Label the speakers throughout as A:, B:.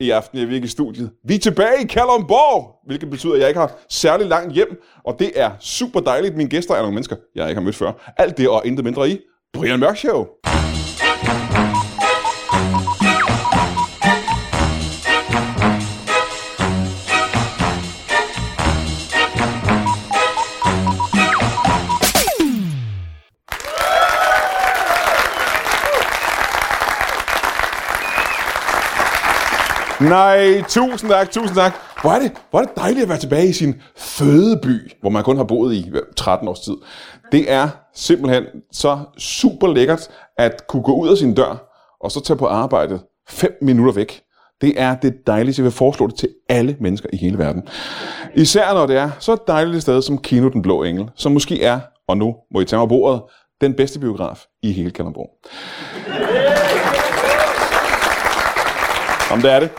A: I aften er vi ikke i studiet. Vi er tilbage i Kalundborg, hvilket betyder, at jeg ikke har særlig langt hjem. Og det er super dejligt. Mine gæster er nogle mennesker, jeg ikke har mødt før. Alt det og intet mindre i Brian Mørk Show. Nej, tusind tak, tusind tak. Hvor er, det, hvor er det dejligt at være tilbage i sin fødeby, hvor man kun har boet i øh, 13 års tid. Det er simpelthen så super lækkert at kunne gå ud af sin dør og så tage på arbejde 5 minutter væk. Det er det dejligste. Jeg vil foreslå det til alle mennesker i hele verden. Især når det er så dejligt et sted som Kino Den Blå Engel, som måske er, og nu må I tage mig på bordet, den bedste biograf i hele Kalundborg. Jamen, det er det.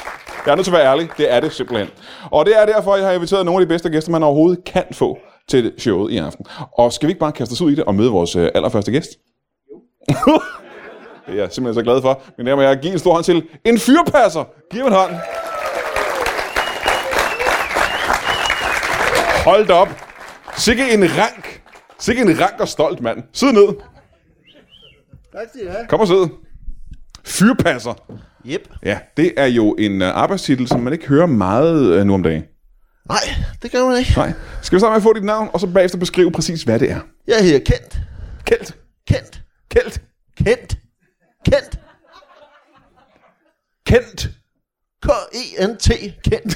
A: Jeg er nødt til at være ærlig. Det er det simpelthen. Og det er derfor, jeg har inviteret nogle af de bedste gæster, man overhovedet kan få til showet i aften. Og skal vi ikke bare kaste os ud i det og møde vores øh, allerførste gæst? Jo. det er jeg simpelthen så glad for. Men der må jeg give en stor hånd til en fyrpasser. Giv ham en hånd. Hold da op. Sikke en rank. Sikke en rank og stolt mand. Sid ned.
B: Tak skal I have.
A: Kom og sid. Fyrpasser.
B: Yep.
A: Ja, det er jo en øh, arbejdstitel, som man ikke hører meget øh, nu om dagen.
B: Nej, det gør man ikke.
A: Nej. Skal vi starte med at få dit navn, og så bagefter beskrive præcis, hvad det er?
B: Jeg hedder Kent.
A: Kelt.
B: Kent.
A: Kelt.
B: Kent. Kent.
A: Kent.
B: K-E-N-T. Kent.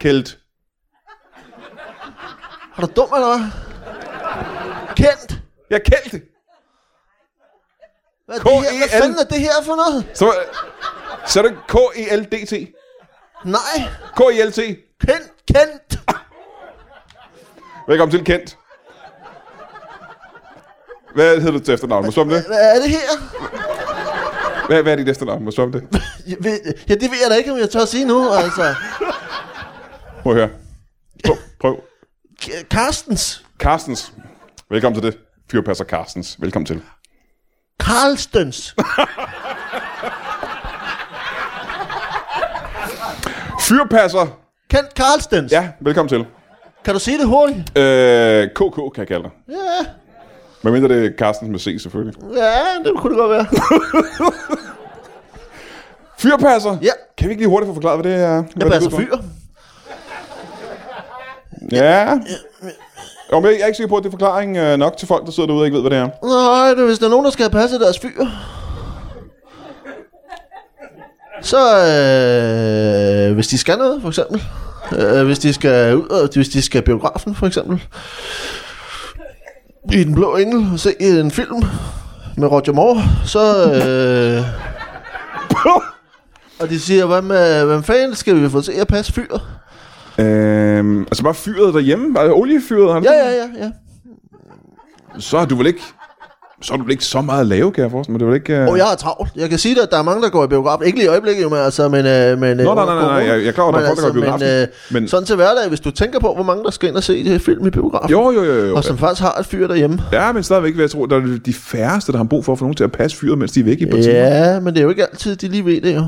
A: Kelt.
B: Er du dum eller hvad? Kent.
A: Ja, Kelt.
B: Hvad, er det her? hvad
A: K.E.N..
B: fanden er det her for noget?
A: Så, øh, så er det E K-E-L-D-T.
B: Nej.
A: K-E-L-T.
B: Kent. Kent.
A: Velkommen til, Kent. Hvad hedder du til efternavn? Må jeg spørge om det?
B: Hvad er det her?
A: Hvad, hvad er dit efternavn? Må jeg spørge om det?
B: Jeg ved, ja, det ved jeg da ikke, om jeg tør at sige nu, altså.
A: Prøv at høre. Prøv. prøv.
B: K- Carstens.
A: Carstens. Velkommen til det. Fyrpasser Carstens. Velkommen til.
B: Carlstens.
A: Fyrpasser.
B: Kent Carlstens.
A: Ja, velkommen til.
B: Kan du sige det hurtigt?
A: Øh, KK kan jeg kalde dig.
B: Ja.
A: Men mindre det er Carstens med C, selvfølgelig.
B: Ja, det kunne det godt være.
A: Fyrpasser?
B: Ja.
A: Kan vi ikke lige hurtigt få forklaret, hvad det er? Hvad
B: Jeg
A: det
B: passer
A: går ud på?
B: fyr.
A: Ja. Jo, men jeg er ikke sikker på, at det er forklaring øh, nok til folk, der sidder derude og ikke ved, hvad det er.
B: Nej, det, er, hvis der er nogen, der skal have passet deres fyr, så øh, hvis de skal noget, for eksempel. Øh, hvis de skal ud, og hvis de skal biografen, for eksempel. I Den Blå Engel og se en film med Roger Moore, så... Øh, og de siger, hvad med, hvem fanden skal vi få se at passe fyret?
A: øhm, altså bare fyret derhjemme? Bare oliefyret? Har du
B: Ja,
A: det?
B: ja, ja, ja.
A: Så har du vel ikke... Så har du vel ikke så meget at lave, kan jeg forestille mig. Det er vel ikke... Øh...
B: Og jeg har travlt. Jeg kan sige dig, at der er mange, der går i biografen. Ikke lige i øjeblikket, jo, men altså, men... Øh, men øh,
A: Nå, nej, nej, nej, nej, jeg- jeg er klar over, at der
B: Men
A: er folk, der går i
B: Men,
A: biografen,
B: øh,
A: men-
B: men sådan til hverdag, hvis du tænker på, hvor mange der skal ind og se det her film i biografen,
A: Jo, jo, jo, jo.
B: og som faktisk har et fyr derhjemme.
A: Ja, men stadigvæk vil jeg tro, der er de færreste, der har brug for at få nogen til at passe fyret, mens de er væk i et par timer.
B: Ja, men det er jo ikke altid, de lige ved det jo.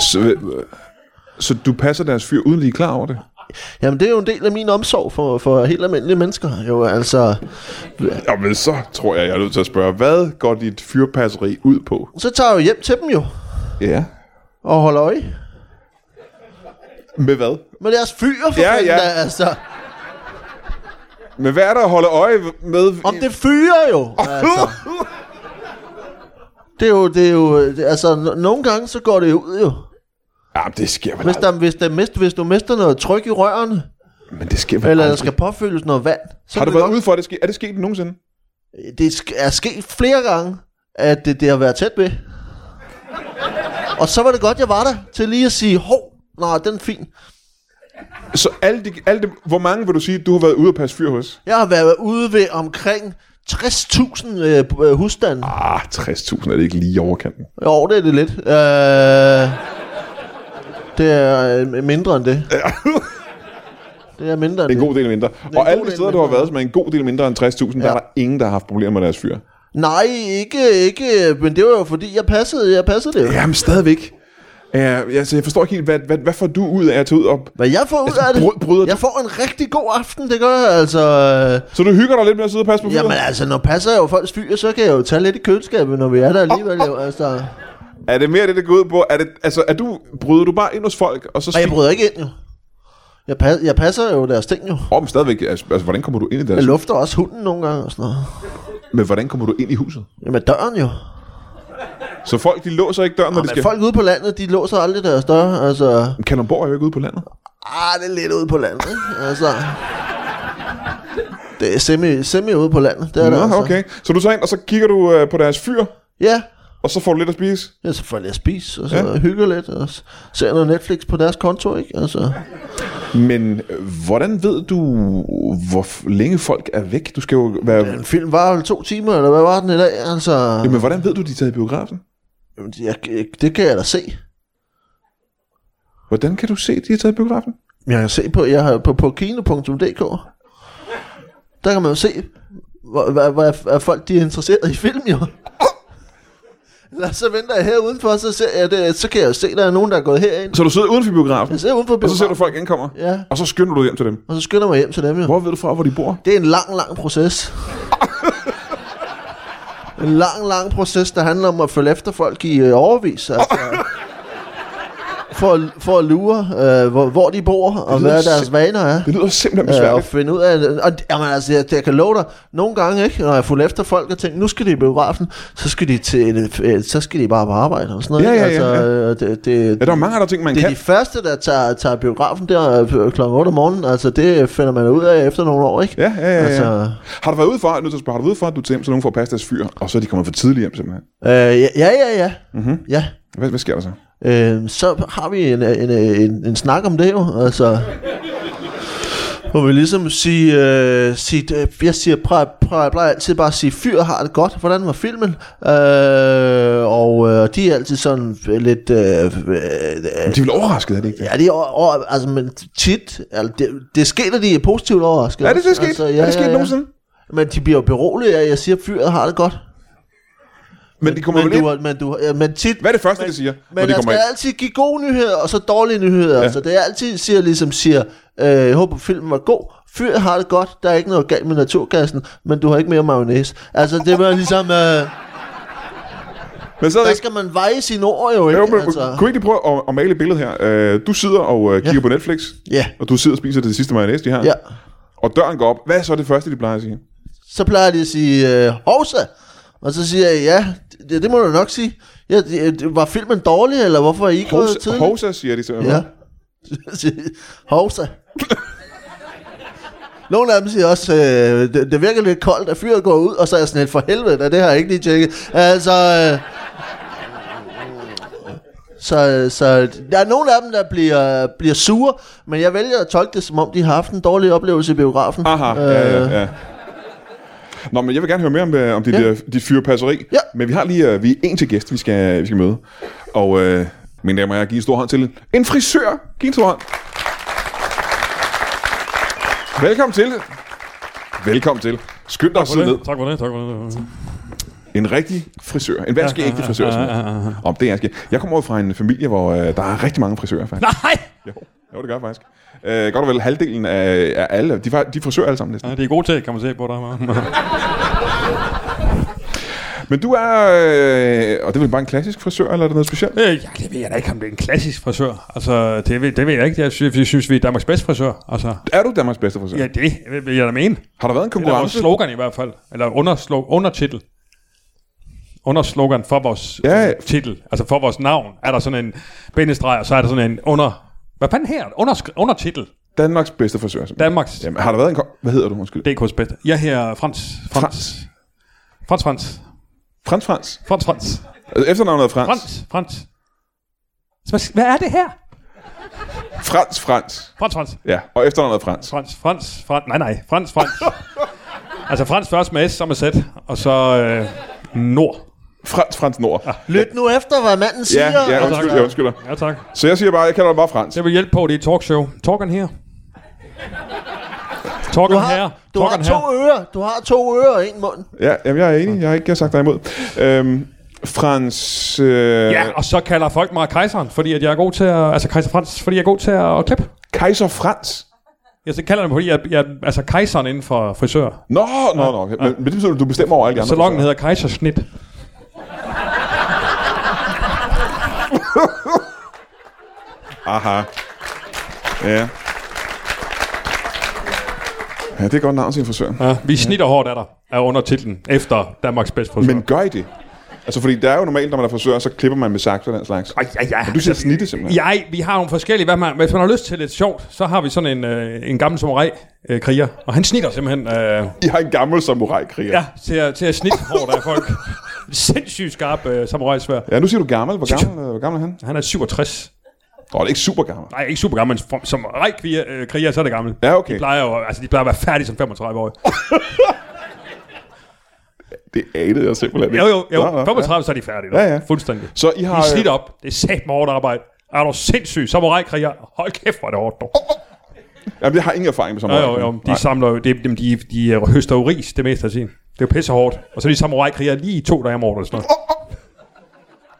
A: Så, øh, så du passer deres fyr, uden lige klar over det?
B: Jamen, det er jo en del af min omsorg for, for helt almindelige mennesker. Jo, altså,
A: Jamen, så tror jeg, jeg er nødt til at spørge, hvad går dit fyrpasseri ud på?
B: så tager jeg jo hjem til dem jo,
A: Ja.
B: og holder øje
A: Med hvad?
B: med deres fyr. For
A: Ja,
B: fanden
A: ja.
B: da, Altså,
A: Men hvad er der at holde øje med?
B: om det fyrer jo. Altså, det er jo, det er jo, det, altså, no- nogle gange så går det jo ud jo.
A: ja, men det sker vel
B: Hvis,
A: aldrig.
B: der, hvis, der mist, hvis du mister noget tryk i rørene,
A: Men det sker vel
B: eller der
A: aldrig.
B: skal påfyldes noget vand, så
A: Har du
B: kan det
A: været
B: godt-
A: ude for, at det sker? Er det sket nogensinde?
B: Det sk- er sket flere gange, at det, det har været tæt ved. Og så var det godt, jeg var der, til lige at sige, hov, nej, den er fin.
A: Så alle de, alle de, hvor mange vil du sige, du har været ude at passe fyr hos?
B: Jeg har været ude ved omkring 60.000 øh, b- øh, husstande.
A: Ah, 60.000 er det ikke lige i overkanten.
B: Jo, det er det lidt. Øh, det er øh, mindre end det. Det er mindre end
A: En
B: det.
A: god del mindre.
B: en
A: Og alle
B: god
A: de
B: del
A: steder, du har
B: mindre.
A: været, som er en god del mindre end 60.000, der
B: Ja.
A: er der ingen, der har haft problemer med deres fyr.
B: Nej, ikke, ikke, men det var jo fordi, jeg passede, jeg passede det jo.
A: Jamen, stadigvæk. Uh, altså, jeg forstår ikke helt, hvad, hvad, hvad får du ud af at tage ud op?
B: Hvad jeg får ud
A: Altså,
B: af det,
A: bryd- bryder du-
B: jeg får en rigtig god aften, det gør jeg altså. øh,
A: Så du hygger dig lidt med at sidde og passe på fyret?
B: Jamen altså, når passer jeg jo folks fyre, så kan jeg jo tage lidt i køleskabet, når vi er der alligevel. Jo, altså.
A: Er det mere det, det går ud på? Er det, altså, er du, bryder du bare ind hos folk, og så
B: Og jeg
A: spiser-
B: bryder ikke ind jo. Jeg, pas, jeg passer jo deres ting jo.
A: Om stadigvæk, altså, altså, hvordan kommer du ind i
B: Jeg
A: deres
B: lufter også hunden nogle gange og sådan noget.
A: Men hvordan kommer du ind i huset?
B: Jamen døren jo.
A: Så folk, de låser ikke døren, når de
B: Men
A: skal...
B: folk ude på landet, de låser aldrig deres døre, altså.
A: Kalundborg er jo ikke ude på landet.
B: Ah, det er lidt ude på landet, ikke? Altså. Det er semi, semi ude på landet, det er det
A: Nå,
B: altså.
A: okay. Så du tager ind, og så kigger du øh, på deres fyr,
B: Ja,
A: og så får du lidt at spise.
B: ja så får jeg spise, og så
A: Ja.
B: ja. hygger lidt, og s- ser noget Netflix på deres konto, ikke? Altså.
A: Men øh, hvordan ved du, hvor f- længe folk er væk? Du skal jo være...
B: Den film var jo to timer, eller hvad var den i dag, altså.
A: Jamen, hvordan ved du, de er taget i biografen?
B: Jamen, jeg, jeg, det kan jeg da se.
A: Hvordan kan du se, de er taget i biografen?
B: Jeg kan se på, jeg har på, på kino.dk. Der kan man jo se, hvor, hvor, hvor er- er folk de er interesseret i film jo. Eller så venter jeg her udenfor, så, ser jeg det, så kan jeg jo se, der er nogen, der er gået herind.
A: Så du sidder uden for biografen,
B: Jeg sidder udenfor
A: og så ser du,
B: biografen,
A: folk ankommer,
B: Ja.
A: og så skynder du hjem til dem.
B: og så skynder jeg mig hjem til dem jo.
A: Hvor ved du fra, hvor de bor?
B: Det er en lang, lang proces. en lang, lang proces, der handler om at følge efter folk i øh, overvis. Altså, for, at- for at lure, øh, hvor, hvor de bor, og
A: lyder
B: hvad deres
A: sind-
B: vaner er.
A: Det lyder simpelthen
B: Øh, og
A: besværligt.
B: finde ud af det. Og, jamen, altså, jeg, jeg kan love dig, nogle gange, ikke, når jeg fulgte efter folk og tænkte, nu skal de i biografen, så skal de, til, en- øh, så skal de bare på arbejde og sådan noget.
A: Ja,
B: ikke?
A: ja, ja,
B: altså,
A: ja.
B: øh, Det, det,
A: Ja, der er mange andre ting, man
B: det er
A: kan.
B: de første, der tager, tager biografen der øh, klokken 8 om morgenen. Altså, det finder man ud af efter nogle år, ikke?
A: Ja, ja, ja. ja.
B: Altså,
A: Har du været ude for, jeg er nødt til at spørge, har du været ude for, at du tager hjem, så nogen får passet deres fyr, og så er de kommet for tidligt hjem simpelthen?
B: øh, ja, ja, ja. ja.
A: Mhm.
B: Mm-hmm. ja.
A: Hvad, hvad sker der så?
B: Øh, så har vi en, en, en, en snak om det jo, altså. Hvor vi ligesom siger, øh, sit, øh, jeg siger, plejer, plejer, plejer altid bare at sige, fyr har det godt, hvordan var filmen? Øh, og øh, de er altid sådan lidt, øh, øh, øh,
A: Men de er vel overrasket, er det ikke det?
B: ja, de er over, over, altså, men tit, altså, det, det sker, at de er positivt overrasket.
A: Er det det
B: Altså,
A: sket? er det sket nogensinde?
B: Men de bliver jo beroliget af, at jeg siger, fyret har det godt.
A: Men de kommer vel
B: Men
A: ind.
B: du, men, du, ja, men tit,
A: Hvad er det første, de siger, når
B: Men
A: de
B: der
A: kommer
B: skal
A: ind?
B: altid give gode nyheder, og så dårlige nyheder. Ja. Så det er altid, siger, ligesom siger, øh, jeg håber filmen var god, fyr har det godt, der er ikke noget galt med naturgassen, men du har ikke mere mayonnaise. Altså det var ligesom, øh, der
A: Men så er det ikke...
B: skal man veje sine ord jo, ikke?
A: Jo, men,
B: altså,
A: kunne ikke lige prøve at, at male et billede her? Øh, du sidder og øh, kigger på Netflix,
B: ja,
A: og du sidder og spiser det sidste mayonnaise, de har.
B: ja.
A: Og døren går op. Hvad er så det første, de plejer at sige?
B: Så plejer de at sige, øh, hovsa, og så siger jeg, ja, det, det må du nok sige. Ja, det, det- var filmen dårlig, eller hvorfor er I ikke gået
A: Hosa,
B: tidligt?
A: hosa siger de simpelthen.
B: Ja. Hovsa. Nogle af dem siger også, øh, det, det virker lidt koldt, at fyret går ud, og så er jeg sådan lidt, for helvede, da, det har jeg ikke lige tjekket. Altså, øh, så, så der er nogle af dem, der bliver, bliver sure, men jeg vælger at tolke det, som om de har haft en dårlig oplevelse i biografen.
A: Aha, ja, ja, ja. Nå, men jeg vil gerne høre mere om, øh, om dit, ja.
B: Øh. Ja.
A: dit fyrpasseri.
B: Ja.
A: Men vi har lige øh, vi er en til gæst, vi skal, vi skal møde. Og øh, mine damer og herrer, giv en stor hånd til en frisør. Giv en stor hånd. Velkommen til. Velkommen til. Skynd dig at sidde ned.
C: Tak for det, tak for det.
A: En rigtig frisør. En vaske ægte frisør. Ja, ja, ja, ja. Om det er jeg Jeg kommer ud fra en familie, hvor øh, der er rigtig mange frisører, faktisk.
C: Nej!
A: Jo, jo, det gør jeg faktisk. Øh, godt og vel halvdelen af, af alle. De, fa- de forsøger alle sammen næsten.
C: Ja, det er gode til, kan man se på dig. hva'?
A: Men du er... Øh, og det er vel bare en klassisk frisør, eller er det noget specielt?
C: Øh, ja, det ved jeg da ikke, om det er en klassisk frisør. Altså, det ved, det ved jeg ikke. Jeg synes, jeg synes vi er Danmarks bedste frisør. Altså,
A: Er du Danmarks bedste frisør?
C: ja, det vil jeg da mene. Det
A: Har der været en
C: er da vores
A: konkurrence?
C: slogan i hvert fald. Eller underslo- undertitel. Underslogan for vores
A: Ja, ja.
C: øh, titel. Altså for vores navn. Er der sådan en bindestreg, og så er der sådan en under... Hvad fanden her? Undersk- undertitel.
A: Danmarks bedste frisør. simpelthen.
C: Danmarks.
A: Jamen, har der været en... Kon- Hvad hedder du, undskyld?
C: DK's bedste. Jeg her Frans. Frans.
A: Frans.
C: Frans Frans.
A: Frans Frans.
C: Frans Frans.
A: Altså, efternavnet er Frans.
C: Frans Frans. Hvad- Hvad er det her?
A: Frans Frans.
C: Frans Frans.
A: Ja, og efternavnet er Frans.
C: Frans Frans Frans. Nej, nej. Frans Frans. altså Frans først med S, så med Z. Og så øh, Nord.
A: Frans Frans Nord.
B: Lyt nu efter, hvad manden siger. Altså,
A: Ja, ja, undskyld, jeg undskylder.
C: Ja, tak.
A: Så jeg siger bare, jeg kalder dig bare Frans.
C: Det vil hjælpe på, det er talkshow. Talken her.
B: Du
C: Talken her.
B: har, du har
C: Talken her.
B: to ører. Du har to ører og en mund.
A: Ja, jamen, jeg er enig. Jeg har ikke sagt dig imod. Øhm, Frans... Øh,
C: Ja, og så kalder folk mig kejseren, fordi at jeg er god til at... Altså kejser Frans, fordi jeg er god til at, at klippe.
A: Kaiser Frans.
C: Jeg så kalder dem, fordi jeg, jeg altså kejseren inden for frisør.
A: Nå, nå, nå. Men, men det betyder, at du bestemmer over alle de andre.
C: Salongen
A: personer.
C: hedder kejsersnit.
A: Aha. Ja. Ja, det er et godt navn til en frisør.
C: Ja, vi snitter hårdt af dig, er undertitlen, efter Danmarks bedste frisør.
A: Men gør I det? Altså, fordi der er jo normalt, når man er frisør, så klipper man med sakser og den slags.
C: Ej, ja, ja.
A: Men du siger snitte, simpelthen.
C: Ja, vi har nogle forskellige. Hvad man, hvis man har lyst til lidt sjovt, så har vi sådan en, øh, en gammel samurai øh, kriger, og han snitter simpelthen øh,
A: I har en gammel samurai-kriger.
C: ja, til, at, til at snitte hårdt af folk. Sindssygt skarp øh, samurai svær.
A: ja. nu siger du gammel. Hvor gammel, øh, hvor gammel er han?
C: Han er 67.
A: Åh, det er ikke super gammel.
C: Nej, ikke super gammel, men for, som rejkriger, øh, kriger, så er det gammel.
A: Ja, okay.
C: De plejer jo, altså de plejer at være færdige som 35 år.
A: Det anede jeg simpelthen
C: Jo,
A: ikke.
C: jo,
A: Nå,
C: jo.
A: nå,
C: 35, så er de færdige. da.
A: Ja, ja.
C: Fuldstændig.
A: Så I har...
C: De slidt op. Det er sat med hårdt arbejde. Er du sindssyg? Samurai-kriger. Hold kæft, hvor er det hårdt, dog.
A: Jamen, jeg har ingen erfaring med
C: Jo,
A: samurai.
C: jo, jo. De samler jo, de, de, de, de høster jo ris det meste af tiden. Det er jo pisse hårdt. Og så er de samurai-kriger lige i to dage om året. eller Sådan noget.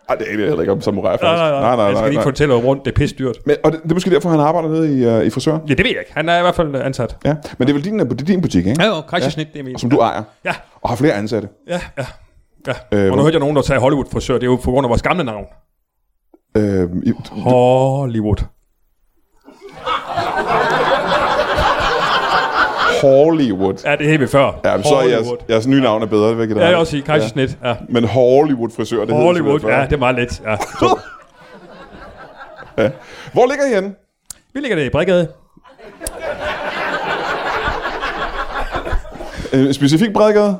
A: Ej, det anede jeg heller ikke om samurai, faktisk.
C: Jeg skal lige fortælle om rundt. Det er pisse dyrt.
A: Men, og det, det, er måske derfor, han arbejder nede i, øh, i frisøren?
C: Ja, det ved jeg ikke. Han er i hvert fald øh, ansat.
A: Ja. Men det er vel din, øh, det er din butik, ikke?
C: Ja, jo. Kajsesnit, det er min.
A: Som du ejer.
C: Ja,
A: Og har flere ansatte.
C: ja, ja.
A: Øh,
C: Ja. Og nu
A: hvor-
C: hørte jeg nogen, der sagde Hollywood-frisør. Det er jo på grund af vores gamle navn.
A: Øh, i,
C: Hollywood.
A: Hollywood.
C: Ja, det hed vi før.
A: Ja, men så er jeres,
C: Hollywood.
A: jeres nye navn er bedre, det vil jeg give
C: Ja,
A: dig
C: jeg vil
A: ret i.
C: også sige Kajsesnit. Ja.
A: Men Hollywood frisør, det hedder
C: Hollywood,
A: selvfølgelig
C: ja, det er meget let. Ja.
A: før. ja. Hvor ligger I henne?
C: Vi ligger der i Bredgade.
A: Øh, specifik Bredegade?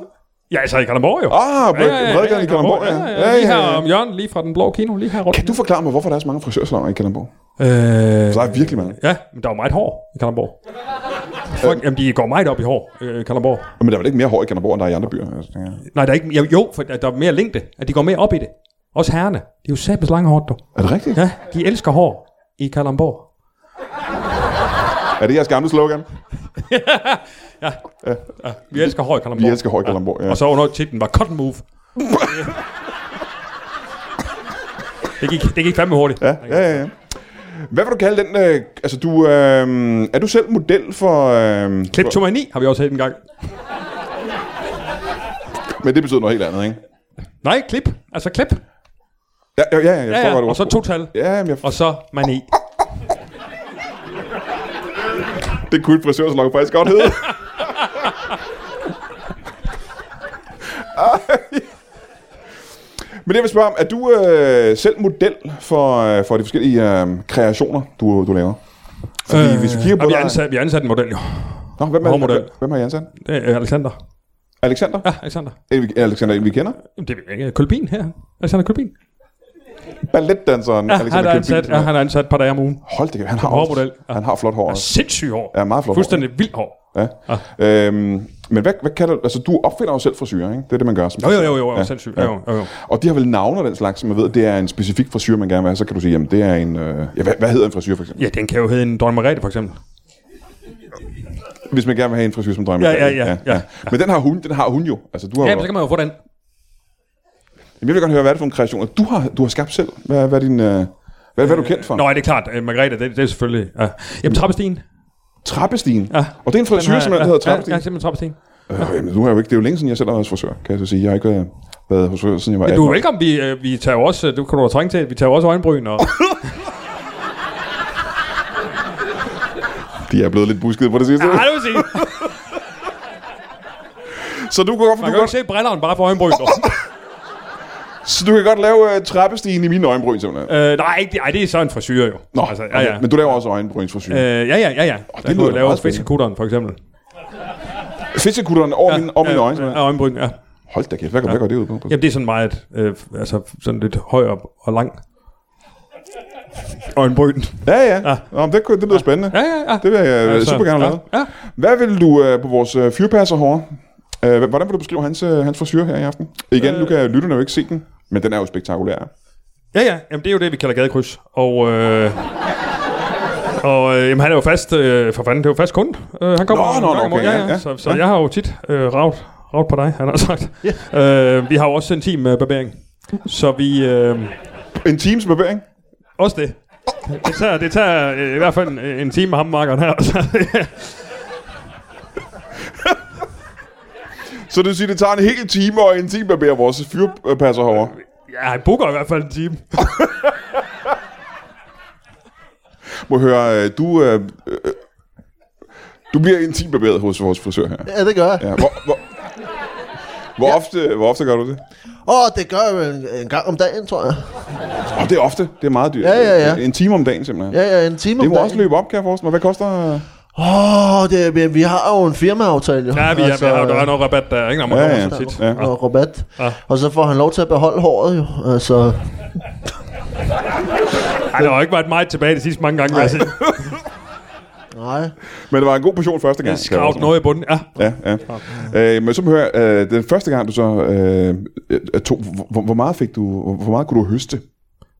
C: Ja, altså i Kalundborg jo.
A: Ah, Bred- Bredegade i Kalundborg, ja. Ja,
C: Lige
A: ja,
C: her
A: ja.
C: om hjørnet, lige fra den blå kino, lige her rundt.
A: Kan du forklare mig, hvorfor der er så mange frisørsalonger i Kalundborg? Altså,
C: Øh,
A: Der er virkelig mange.
C: ja, men der er jo meget hår i Kalundborg.
A: Øh.
C: Folk, jamen, de går meget op i hår øh, i Kalundborg.
A: Men der er vel ikke mere hår i Kalundborg, end der er i andre byer? Altså, ja.
C: Nej, der er ikke, jo, jo, for der der er mere længde, at de går mere op i det. Også herrene. De er jo sabels lange hårdt, du.
A: Er det rigtigt?
C: Ja, de elsker hår i Kalundborg.
A: Er det jeres gamle slogan?
C: Vi elsker hår i
A: Vi
C: Kalundborg.
A: elsker hår i Kalundborg, ja.
C: Og så under titlen var Cotton Move. det, gik, det gik fandme hurtigt.
A: Ja, ja, ja. ja. Hvad vil du kalde den? Øh, altså, du, øh, er du selv model for... Øh, for
C: Kleptomani har vi også haft en gang.
A: men det betyder noget helt andet, ikke?
C: Nej, klip. Altså klip.
A: Ja, ja, ja. Jeg
C: Ja,
A: forstår, hvad
C: ja.
A: du
C: Og så to tal.
A: Ja, men jeg,
C: Og så mani.
A: det kunne et frisørsalon faktisk godt hedde. Ej. Men det, jeg vil spørge om, er du øh, selv model for, øh, for de forskellige øh, kreationer, du, du laver? Fordi
C: Øh,
A: hvis vi kigger på
C: og vi
A: dig-
C: ansat, vi har ansat en model jo.
A: Nå, hvem, er,
C: Hårmodel.
A: hvem, hvem har I ansat?
C: Det er Alexander.
A: Alexander?
C: Ja, Alexander.
A: En, vi- Alexander, en vi kender?
C: Jamen, Det ved jeg ikke. Kølbin her. Altså, Alexander Kølbin.
A: Balletdanseren
C: Ja, han
A: Alexander
C: er
A: Kjær
C: ansat,
A: Bilsen.
C: ja, han er ansat et par dage om ugen.
A: Hold det, han har,
C: Som
A: også-
C: hårmodel. Ja.
A: han har flot hår.
C: Og
A: også.
C: sindssygt hår.
A: Ja, meget flot hår.
C: Fuldstændig vildt hår.
A: Ja.
C: Ah.
A: Øhm, men hvad, hvad kalder du... Altså, du opfinder jo selv frisyrer, ikke? Det er det, man gør. Som
C: Jo, jo, jo, jo,
A: Ja,
C: jo, sindssygt. Jo, jo, jo.
A: Og de har vel navne og den slags, som man ved, det er en specifik frisyr, man gerne vil have. Så kan du sige, jamen det er en... Øh, ja, hvad, hvad hedder en frisyr for eksempel?
C: Ja, den kan jo hedde en Dronning Margrethe, for eksempel.
A: Hvis man gerne vil have en frisyr som drømmer.
C: Ja, ja, ja, ja.
A: Men den har hun, den har hun jo. Altså, du har
C: Ja,
A: ja,
C: men så
A: jo
C: kan man jo få den.
A: Jamen, jeg vil godt høre, hvad er det for en kreation, du har, du har skabt selv? Hvad, hvad er din... Øh, hvad, hvad er du kendt for?
C: Nå, ja, det er klart. Øh, Margrethe, det, det er selvfølgelig... Ja. Jamen, Trappestien. Den
A: Trappestigen.
C: Ja.
A: Og det er en frisyr,
C: har-
A: som der hedder Trappestigen.
C: Ja, ja, simpelthen Trappestien.
A: Øh, jamen, nu har jeg jo ikke, det er jo længe siden, jeg selv har været hos frisør, kan jeg så sige. Jeg har ikke været, været hos frisør, siden jeg var 18
C: Du er
A: år.
C: velkommen. Vi, øh, vi tager jo også... øh, Du kan du da trænge til. Vi tager jo også øjenbryn og...
A: De er blevet lidt buskede på det sidste.
C: Ja, det vil sige.
A: Så du kan godt, du
C: Man kan jo
A: godt,
C: ikke se brilleren bare for øjenbryn. dog.
A: så du kan godt lave øh, trappestigen i mine øjenbryn, simpelthen.
C: Øh, nej, ikke, det- ej, det er så en frisyr jo.
A: Nå,
C: altså, ja, ja.
A: okay, men du laver også øjenbrynsfrisyr. Øh,
C: Øh, ja, ja, ja, ja. Oh,
A: lyder da
C: det lyder
A: meget
C: lave
A: spændende.
C: fiskekutteren, for eksempel.
A: Fiskekutteren over, ja, mine, over mine øjne,
C: Ja,
A: simpelthen.
C: øjenbryn, ja.
A: Hold da kæft, hvad går, ja. hvad går det ud på?
C: Jamen, det er sådan meget, øh, altså sådan lidt høj og, og lang. Og en bryn.
A: Ja, ja. ja. Nå, men det, kunne- det lyder spændende.
C: Ja, ja, ja.
A: Det vil jeg
C: Altså,
A: altså, super gerne
C: ja,
A: have lavet.
C: ja.
A: Hvad vil du øh, på vores øh, fyrpasser hårde? Øh, hvordan vil du beskrive hans, øh, hans frisyr her i aften? Igen, øh. nu kan lytterne jo ikke se den, men den er jo spektakulær.
C: Ja, ja. Jamen, det er jo det, vi kalder gadekryds. Og, øh, og øh, jamen, han er jo fast, øh, for fanden, det er jo fast kunde. Øh, han kommer
A: Nå,
C: en
A: nå,
C: gang om
A: okay,
C: året.
A: ja, ja.
C: Så, så jeg har jo tit øh, ravet, ravet på dig, han har sagt. Øh, vi har jo også en team med barbering. Så vi... Øh,
A: En times barbering?
C: også det. Det tager, det tager øh, i hvert fald en, en time med ham, markeren her. Så,
A: Så det vil sige, det tager en hel time og en time barberer vores fyrpasser hårde.
C: ja, han booker i hvert fald en time.
A: Må høre, øh, du... Øh, øh, du bliver intim barberet hos vores frisør her.
B: Ja, det gør jeg.
A: Ja, hvor, hvor, hvor, ofte, hvor ofte gør du det?
B: Åh, det gør jeg vel en, en gang om dagen, tror jeg.
A: Oh, det er ofte. Det er meget dyrt.
B: Ja, ja, ja.
A: En time om dagen simpelthen.
B: Ja, ja, en time
A: Det
B: om
A: må
B: dagen.
A: også løbe op, kan jeg forestille mig. Hvad koster... øh,
B: Åh, oh, det, vi, vi har jo en firmaaftale, jo.
C: Ja, vi, altså, vi har, der er noget rabat, der er ikke noget, man
A: Ja,
C: ja,
A: ja.
C: så tit.
A: Ja.
B: og rabat.
C: Ja.
B: Ja. Og så får han lov til at beholde håret, jo. Altså,
C: Ej, der har jo ikke været meget tilbage de sidste mange gange, vil jeg sige.
B: nej.
A: Men det var en god portion første gang. kan jeg
C: Skravt
A: forestille mig.
C: noget i bunden. Ja,
A: Ja, ja. Øh, men så må jeg høre, øh, den første gang du så øh, øh, tog, hvor, hvor, meget fik du, hvor, hvor meget kunne du høste?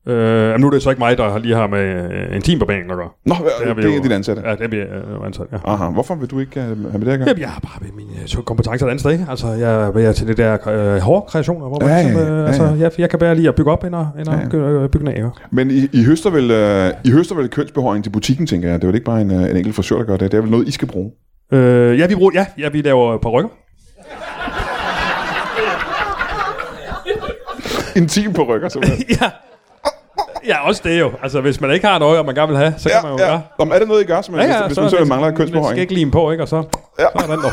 C: Øh, jamen nu er det så ikke mig, der lige har med øh, en teamberbæring at gøre.
A: Nå,
C: Det
A: det
C: har
A: er,
C: vi
A: det er
C: jo-
A: din ansatte. Ja.
C: Ja, det er vi øh, ansat, ja.
A: Aha, hvorfor vil du ikke øh, have med det at gøre?
C: Jamen, jeg har bare ved mine øh, kompetencer et andet sted. ikke? Altså, jeg er til det der øh, hårde kreationer, hvor man
A: Ja,
C: ja,
A: ja,
C: ligesom, øh,
A: ja,
C: altså,
A: ja.
C: jeg, jeg kan bare lige at bygge op, end at, end at ja. bygge ned. ja.
A: Men I, I, høster vel, øh, I høster vel kønsbehøjning til butikken, tænker jeg. Det er vel ikke bare en, øh, en enkelt frisør, der gør det. Det er vel noget, I skal bruge.
C: Øh, ja, vi bruger, ja, ja, vi laver par rykker.
A: Intim på rykker, simpelthen.
C: ja. ja, også det jo. Altså, hvis man ikke har et øje, og man gerne vil have, så
A: Ja,
C: kan man jo
A: ja.
C: gøre.
A: Nå, men er det noget, I gør, simpelthen, ja, ja, hvis, hvis man
C: er
A: så
C: lidt-
A: mangler en
C: lidt
A: kønsbehøjning?
C: skæg lim på, ikke? Og så, ja. så er den der.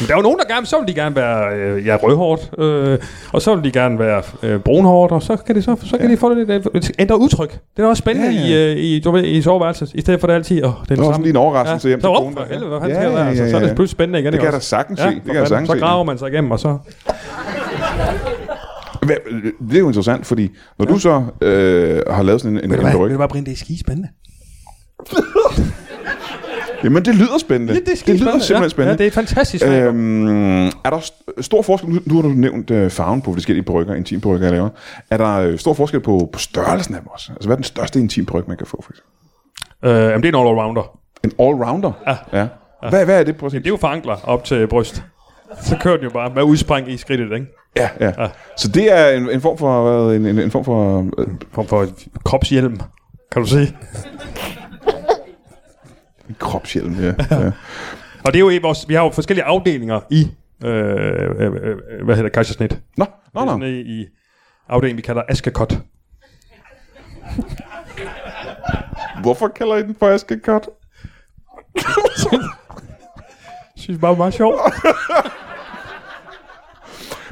C: Men der er jo nogen, der gerne, så vil de gerne være øh, ja, rødhårdt, øh, og så vil de gerne være øh, brunhårdt, og så kan, de, så, så kan ja. de få lidt, øh, et ændret udtryk. Det er da også spændende
A: Ja,
C: ja,
A: ja.
C: ja. i, øh, i, du ved, i soveværelset, i stedet for det altid. Oh, det er
A: Det
C: den
A: var
C: samme.
A: sådan lige en overraskelse hjem
C: så,
A: til
C: op,
A: konen,
C: for
A: der-
C: helvede, hvad fanden ja, sker der? Altså, så er det pludselig spændende igen.
A: Det
C: ikke
A: kan jeg da
C: også?
A: sagtens se. Det
C: for
A: kan jeg
C: fanden,
A: sagtens
C: Så
A: se.
C: graver man sig igennem, og så...
A: Hvad- Det er jo interessant, fordi når ja. du så øh, har lavet sådan en, en, en ryg...
C: bare, Brind, det er skide spændende.
A: Jamen, det lyder spændende.
C: Det, det, er
A: det lyder simpelthen
C: ja.
A: spændende.
C: Ja, det er et fantastisk fag.
A: Øhm, er der st- stor forskel, nu, nu har du nævnt øh, farven på forskellige brygger, intimbrygger, jeg laver. Er der øh, stor forskel på, på størrelsen af dem også? Altså, hvad er den største intimbryg, man kan få, for eksempel?
C: Øh, jamen, det er en all-rounder.
A: En all-rounder? Ja. ja. Hvad, hvad er det, prøv at sige?
C: Det er jo fra ankler op til bryst. Så kører den jo bare med udspring i skridtet, ikke?
A: Ja, ja. ja. Så det er en, en form for, hvad, en, en, en form for, øh,
C: Form for kropshjelm, kan du sige.
A: en kropshjelm, ja. ja.
C: Og det er jo i vores, vi har jo forskellige afdelinger i, øh, øh, øh, hvad hedder kejsersnit. Det
A: Nå,
C: er
A: nå, nå.
C: sådan i, i afdelingen, vi kalder Askekot.
A: Hvorfor kalder I den for askekot?
C: synes bare, det var meget sjovt.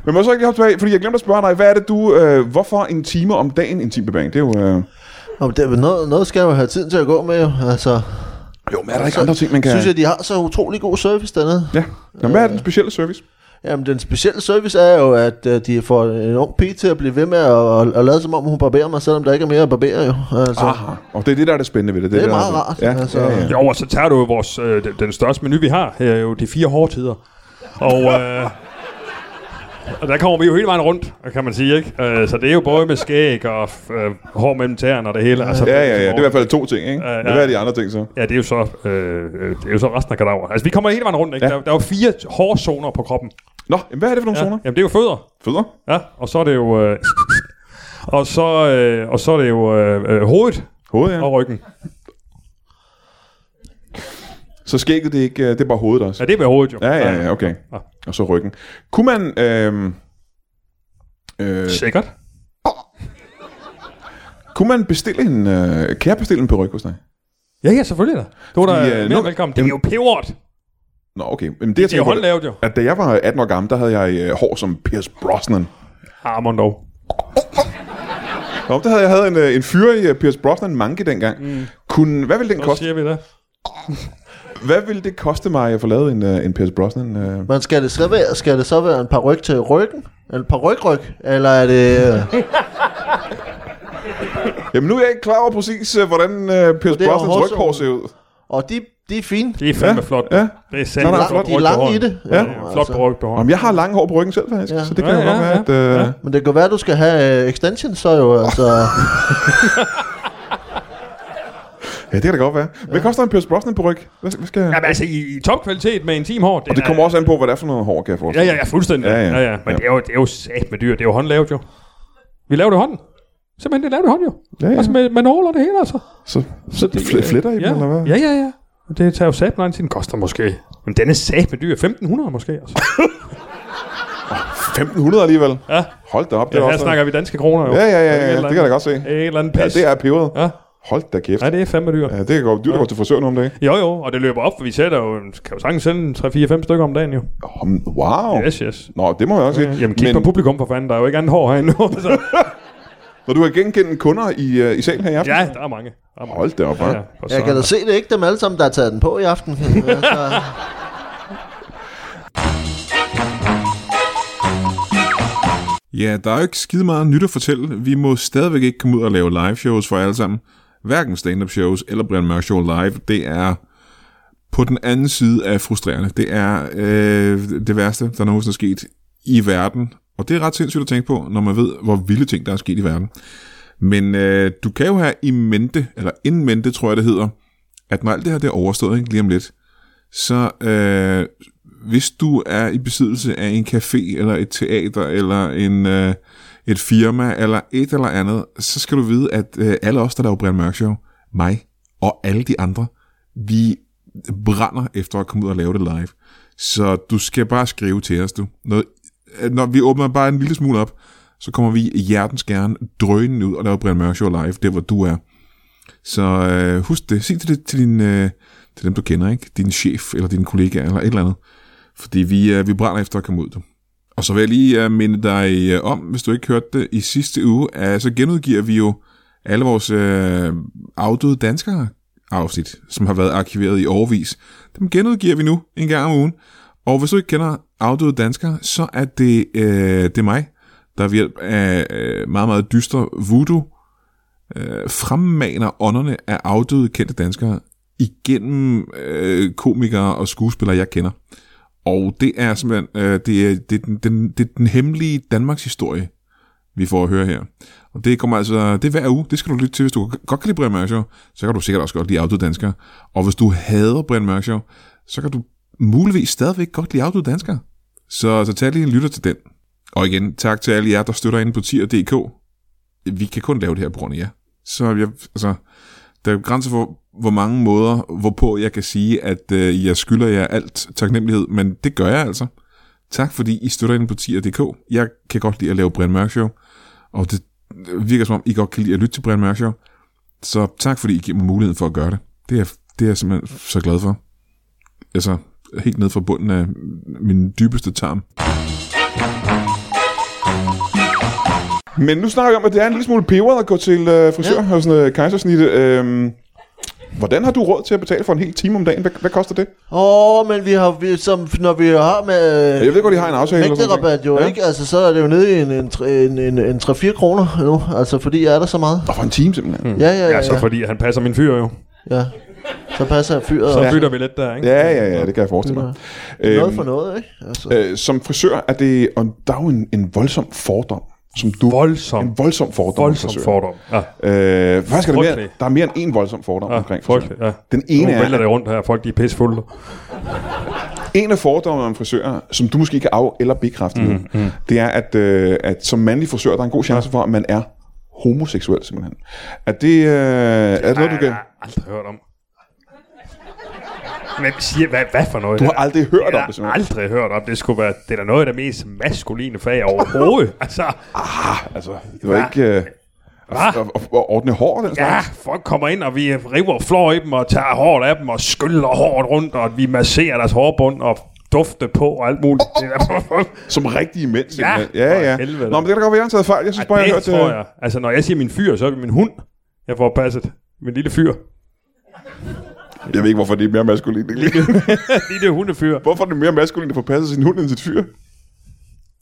A: Men må jeg så ikke lige hoppe tilbage, fordi jeg glemte at spørge dig, hvad er det du, øh, hvorfor en time om dagen intimbebæring? Det er jo... Øh,
B: Nå, men det, men noget, noget skal jeg jo have tiden til at gå med, jo. Altså,
A: jo, men er der ikke andre ting, man kan...
B: synes jeg, de har så utrolig god service dernede.
A: Ja. Nå, hvad er den specielle service?
B: Jamen, den specielle service er jo, at øh, de får en ung pige til at blive ved med at, at, at lade som om, hun barberer mig, selvom der ikke er mere at barbere, jo. Altså, ah,
A: Aha. Og det er det, der er det spændende ved det.
B: Det er
A: der,
B: meget rart,
A: Ja, altså.
B: altså.
A: ja, ja.
C: Jo, og så tager du jo vores, øh, den- den største menu, vi har, her er jo de fire hårde tider. Og, øh, og der kommer vi jo hele vejen rundt, kan man sige, ikke? Øh, så det er jo både med skæg og øh, hår mellem tæerne og det hele. Altså,
A: Ja, ja, ja. Det er i hvert fald to ting, ikke?
C: Ja, ja.
A: Hvad er de andre ting så?
C: Ja, det er jo så, øh, øh, det er jo så resten af kadaver. Altså, vi kommer hele vejen rundt, ikke?
A: Ja.
C: Ja. Der, der er jo fire hårde zoner på kroppen.
A: Nå, jamen, hvad er det for nogle
C: Ja.
A: zoner?
C: Jamen, det er jo fødder.
A: Fødder?
C: Ja, og så er det jo... Øh, og, så, øh, og så er det jo øh, øh, hovedet
A: Hoved, ja.
C: og ryggen.
A: Så skægget, det er, ikke, øh, det er bare hovedet også?
C: Ja, det er ved hovedet jo.
A: Ja, ja, ja, okay.
C: Ja.
A: Og så ryggen. Kunne man... Øh, øh,
C: Sikkert.
A: kunne man bestille en... Øh, kan jeg bestille en peruk hos dig?
C: Ja, ja, selvfølgelig da. Du er
A: Fordi,
C: da
A: øh,
C: øh,
A: nu-
C: mere velkommen. Det er jo pevert.
A: Nå, okay. Men det, jeg
C: Det er jo
A: tænker på,
C: håndlavet jo.
A: at da jeg var 18 år gammel, der havde jeg øh, hår som Pierce Brosnan.
C: Armand dog.
A: Nå, der havde jeg havde en, øh, en fyr i øh, Pierce Brosnan manke dengang. Mm. Kunne, hvad ville den
C: Så
A: koste?
C: siger vi det.
A: Hvad ville det koste mig at få lavet en, øh, en Pierce Brosnan? øh?
B: Men skal det, så være, skal det så være en par ryg til ryggen? En par rygryg? Eller er det... Øh,
A: Jamen nu er jeg ikke klar over præcis, øh, hvordan øh, Pierce
B: Det er jo
A: Brosnans
B: hårdt,
A: ryghår
B: så-
A: ser ud.
B: og de, de er fine.
C: Det er fandme
A: Ja,
C: flot.
A: ja.
C: Det er
A: Nå,
C: sandt.
A: nej,
B: flot-
C: flot
B: de er
C: ryg
B: lange
C: på
B: i
C: hånden.
B: det. Ja,
C: Ja, flot
B: altså.
C: på ryg på hånden.
A: Jamen, jeg har lange hår på ryggen selv, faktisk, ja.
B: Ja.
A: så det kan
C: Ja,
A: jo nok
C: ja,
A: være, at...
C: ja,
A: Øh,
C: ja.
B: Men det kan være, du skal have øh, extension, så jo altså...
A: ja, det kan da godt være. Hvad koster en Pierce Brosnan på ryg? Hvad, hvad skal...
C: Jamen altså, i, i topkvalitet med intim hår.
A: Og det kommer også an på, hvad det er for noget hår, kan jeg
C: Ja,
A: forestille
C: ja, ja, fuldstændig.
A: Ja,
C: Ja,
A: ja.
C: ja. ja, ja. Men
A: Ja.
C: Det, er jo, det er jo sat med dyr. Det er jo håndlavet jo. Vi laver det i hånden. Simpelthen, det laver det i hånden jo.
A: Ja, ja.
C: Altså med, med nåler og det hele, altså.
A: Så, så det, fl- fletter i
C: ja.
A: dem, eller hvad?
C: Ja, ja, ja. Og Det tager jo sat med den koster måske. Men den er sat med dyr. 1500 måske, altså.
A: 1500 alligevel.
C: Ja,
A: Hold da op, det
C: ja
A: er
C: her
A: også...
C: snakker vi danske kroner jo.
A: Ja, ja, ja,
C: Er
A: ja,
C: et
A: det
C: eller
A: kan jeg da godt se.
C: andet- Et eller andet
A: Ja,
C: pis.
A: det er peberet.
C: Ja.
A: Hold da kæft.
C: Nej, det er fandme dyr.
A: Ja, det kan godt. Du kan gå til frisør nu om dagen.
C: Jo, jo, og det løber op, for vi sætter jo, kan jo sagtens sende 3-4-5 stykker om dagen jo.
A: Om, wow.
C: Yes, yes.
A: Nå, det må jeg også sige.
C: Jamen, kig
A: Men
C: Men... på publikum for fanden, der er jo Altså, ikke andet hår herinde nu. Så.
A: når du har genkendt kunder i, øh, i salen her i aften,
C: Ja, der er mange. Der er mange.
A: hold da op, ja.
C: Ja, for
B: Jeg kan da se, det er ikke dem alle sammen, der har taget den på i aften. altså,
A: Ja, der er jo ikke skide meget nyt at fortælle. Vi må stadigvæk ikke komme ud og lave live shows for jer alle sammen. Hverken stand-up shows eller Brian Mørk Show live. Det er på den anden side af frustrerende. Det er øh, det værste, der nogensinde er sket i verden. Og det er ret sindssygt at tænke på, når man ved, hvor vilde ting, der er sket i verden. Men øh, du kan jo have i mente, eller in mente, tror jeg det hedder, at når alt det her det er overstået ikke, lige om lidt, så øh, hvis du er i besiddelse af en café, eller et teater, eller en, øh, et firma, eller et eller andet, så skal du vide, at øh, alle os, der laver Brian Mørk Show, mig og alle de andre, vi brænder efter at komme ud og lave det live. Så du skal bare skrive til os, du. Når, øh, når vi åbner bare en lille smule op, så kommer vi hjertens gerne drønende ud og laver Brian Mørk Show live, der hvor du er. Så øh, husk det. Sig til, det, til, din, øh, til dem, du kender, ikke? Din chef, eller din kollega, eller et eller andet. Fordi vi, øh, vi brænder efter at komme ud. du. Og så vil jeg lige øh, minde dig øh, om, hvis du ikke hørte det i sidste uge, at så genudgiver vi jo alle vores øh, afdøde danskere afsnit, som har været arkiveret i årvis. Dem genudgiver vi nu en gang om ugen. Og hvis du ikke kender afdøde danskere, så er det, øh, det er mig, der ved hjælp af øh, meget, meget dyster voodoo øh, fremmaner ånderne af afdøde kendte danskere igennem øh, komikere og skuespillere, jeg kender. Og det er simpelthen øh, det er, det er den, den, det er den hemmelige Danmarks historie, vi får at høre her. Og det kommer altså, det er hver uge, det skal du lytte til, hvis du godt kan lide Brian Mørk Show, så kan du sikkert også godt lide Auto Danskere. Og hvis du hader Brian Mørk Show, så kan du muligvis stadigvæk godt lide Auto Danskere. Så, så tag lige en lytter til den. Og igen, tak til alle jer, der støtter ind på tier.dk. Vi kan kun lave det her på grund af jer. Så jeg, altså, der er jo grænser for, hvor mange måder, hvorpå jeg kan sige, at øh, jeg skylder jer alt taknemmelighed, men det gør jeg altså. Tak fordi I støtter ind på tier.dk. Jeg kan godt lide at lave Brian Mørk Show, og det øh, virker som om, I godt kan lide at lytte til Brian Mørk Show. Så tak fordi I giver mig muligheden for at gøre det. Det er, jeg- det er jeg simpelthen så glad for. Altså, helt ned fra bunden af min dybeste tarm. Men nu snakker vi om, at det er en lille smule peberet at gå til øh, frisør ja. og sådan noget kejsersnit. Øh, hvordan har du råd til at betale for en hel time om dagen? Hvad, hvad koster det?
B: Åh, oh, men vi har, vi, som, når vi har med...
A: Jeg ved godt, I har en aftale. eller sådan noget.
B: Mægterabat jo,
A: Ja.
B: ja. ikke? Altså, så er det jo nede i en, en, tre- en, en, en 3-4 kroner nu, altså, fordi er der så meget.
A: Og for en time simpelthen. Mm.
B: Ja, ja, ja.
C: Ja, så
B: ja.
C: fordi han passer min fyr jo.
B: ja. Så passer fyret
C: Så
B: så,
C: bytter vi lidt der, ikke?
A: Ja, ja, ja, det kan jeg forestille mig.
B: noget
A: Øhm,
B: for noget, ikke? Altså.
A: øh, som frisør er det, og der er jo en, en voldsom fordom, som du...
C: Voldsom,
A: en voldsom fordom. om
C: voldsom
A: frisører.
C: fordom. Ja,
A: Øh, faktisk er der mere,
C: Frygtelig.
A: der er mere end en voldsom fordom ja, omkring frisører.
C: frygteligt. Ja.
A: Den ene
C: nu vælter
A: er,
C: det rundt her, folk de er pissefulde.
A: en af fordommene om frisører, som du måske kan af- eller bekræfte mm, nu, mm. det er, at, øh, at som mandlig frisør, der er en god chance for, at man er homoseksuel simpelthen. Er det, øh, er det noget, du kan...
C: jeg har aldrig hørt om. Hvem siger, hvad, hvad for noget?
A: Du har aldrig hørt om det
C: Jeg har
A: simpelthen.
C: aldrig hørt om det. Skulle være, det er da noget af det mest maskuline fag overhovedet. altså,
A: Altså, det var ikke... Øh, at, at, at ordne hår og den
C: ja,
A: slags.
C: folk kommer ind, og vi river flår i dem, og tager håret af dem, og skyller håret rundt, og vi masserer deres hårbund, og dufte på og alt muligt. Det er-
A: Som rigtige mænd simpelthen.
C: for
A: ja, ja.
C: helvede.
A: Nå, men det kan da godt være, at jeg har taget fejl. Jeg synes bare,
C: Ej,
A: jeg
C: det
A: har hørt...
C: tror
A: øh,
C: jeg. Altså, når jeg siger min fyr, så er det min hund, jeg får passet. Min lille fyr.
A: Jeg ved ikke, hvorfor det er mere maskulint. egentlig.
C: Lige det hundefyr.
A: hvorfor er det mere maskulint at få passet sin hund end sit fyr?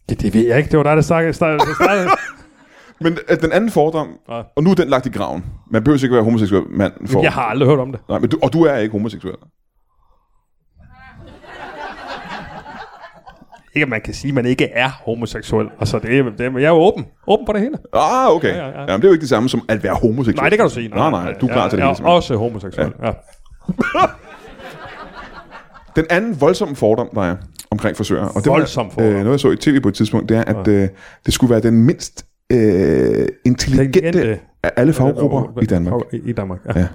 C: Det, det ved jeg ikke. Det var dig, der startede. startede, der startede.
A: Men at den anden fordom,
C: Nej.
A: og nu er den lagt i graven. Man behøver ikke være homoseksuel mand. For,
C: jeg har aldrig hørt om det.
A: Nej, men du, og du er ikke homoseksuel.
C: Ikke, at man kan sige, at man ikke er homoseksuel. Altså, det, er- det, er- jeg er jo åben. Åben på det hele.
A: Ah, okay.
C: Ja,
A: Ja,
C: ja,
A: ja,
C: ja.
A: ja. Jamen, det er jo ikke det samme som at være homoseksuel.
C: Nej, det kan du sige.
A: Nej, nej, du er klar
C: jeg,
A: til det
C: jeg
A: hele.
C: er
A: simpelthen.
C: også homoseksuel. Ja. ja.
A: Den anden voldsomme fordom, der er omkring frisører, og det
C: Voldsom
A: var
C: fordom.
A: øh, noget, jeg så i tv på et tidspunkt, det er, at øh, det skulle være den mindst øh, intelligente
C: Intelligente.
A: af alle faggrupper i Danmark.
C: I, i Danmark, ja.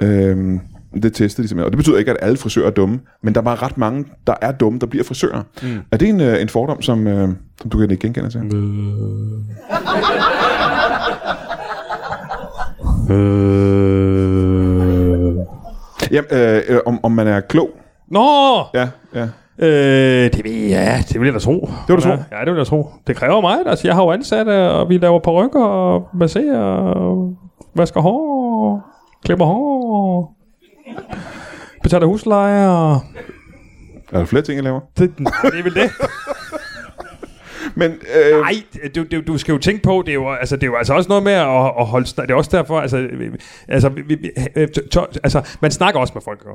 A: Ja. Øhm, det testede de simpelthen. Og det betyder ikke, at alle frisører er dumme, men der er bare ret mange, der er dumme, der bliver frisører. Mm. Er det en, øh, en fordom, som, øh, som du kan ikke genkende til? Mm.
C: Øh...
A: Jamen, øh, øh, om, om man er klog.
C: Nå!
A: Ja, ja.
C: Øh, det, ved jeg, det vil jeg da tro.
A: vil du tro?
C: Ja, det vil jeg tro. Det kræver meget. Altså, jeg har jo ansat, og vi laver perukker og masserer og vasker hår og klipper hår og betaler husleje og...
A: Er der flere ting, jeg laver?
C: Det, nej, det er vel det.
A: Men, øh,
C: Nej, du, du, du skal jo tænke på, det er jo, altså, det er jo altså også noget med at, at holde... snak- Det er også derfor, altså... vi- vi- Altså, vi, vi, øh, to, to, altså man snakker også med folk, jo.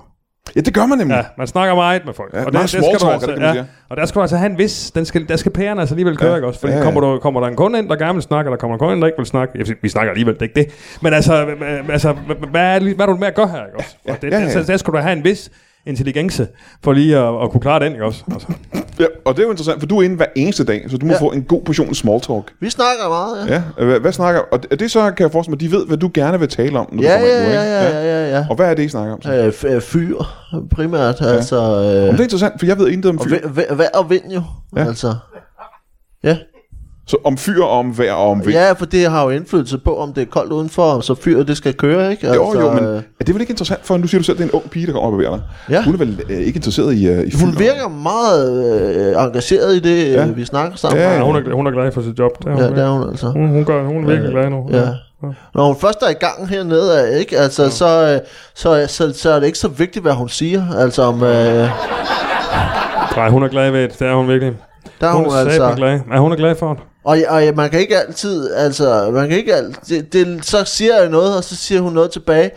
A: ja, det gør man nemlig.
C: Ja, man snakker meget med folk.
A: Mm. Ja, meget small talk, er det, kan man sige.
C: og der skal du altså have en vis, den skal, der skal pærerne altså alligevel køre,
A: Ja,
C: ja, ikke også? Fordi
A: ja,
C: ja,
A: ja.
C: Kommer, der, kommer der en kunde ind, der gerne vil snakke, eller kommer der en kunde ind, der ikke vil snakke? Jeg vil sige, vi snakker alligevel, det er ikke det. Men altså, øh, øh, altså hvad, hvad, er, lige- hvad er du med at gøre her, ikke også? Og det,
A: ja, ja.
C: ja, ja, ja. Der, der skal du have en vis intelligence for lige at, at kunne klare den, ikke også? Altså,
A: Ja, og det er jo interessant, for du er inde hver eneste dag, så du må ja.
B: Ja.
A: få en god portion small talk.
B: Vi snakker meget, ja.
A: Ja, øh, hvad, hvad snakker... Og er det så, kan jeg forestille mig, de ved, hvad du gerne vil tale om, når
B: Ja,
A: du kommer
B: ja,
A: ind nu,
B: ja,
A: ikke?
B: ja, ja, ja, ja.
A: Og hvad er det, I snakker om? Så?
B: Øh, f- øh, fyr, primært, altså...
A: Om
B: Øh,
A: det er interessant, for jeg ved intet om
B: og
A: fyr.
B: væ- væ- vejr og vind jo,
A: Ja.
B: altså. Ja.
A: Så om fyr, og om vejr og om vind.
B: ja, for det har jo indflydelse på, om det er koldt udenfor, så fyret det skal køre, ikke?
A: Jo, jo, men
B: øh,
A: er det vel ikke interessant for, nu siger du selv, at det er en ung pige, der kommer og bevæger dig.
B: Ja.
A: Hun er vel øh, ikke interesseret i, øh, i fyr?
B: Hun virker meget øh, engageret i det,
A: Ja.
B: ja. vi snakker sammen.
A: Ja,
B: Ja,
A: ja.
C: ja, hun, er, hun er glad for sit job. Der,
B: ja det er hun altså.
C: hun, hun, gør, hun er virkelig glad nu.
B: Ja. Når hun først er i gang hernede, øh, ikke? Altså, ja. så, øh, så, så, så er det ikke så vigtigt, hvad hun siger. Altså, om, øh, der
C: Nej, hun er glad ved det. Det er hun virkelig.
B: er hun,
C: Hun er
B: altså...
C: altså... glad. Ja, hun er glad for det.
B: Og, og ja, man kan ikke altid, altså, man kan ikke altid, det, det, så siger jeg noget, og så siger hun noget tilbage.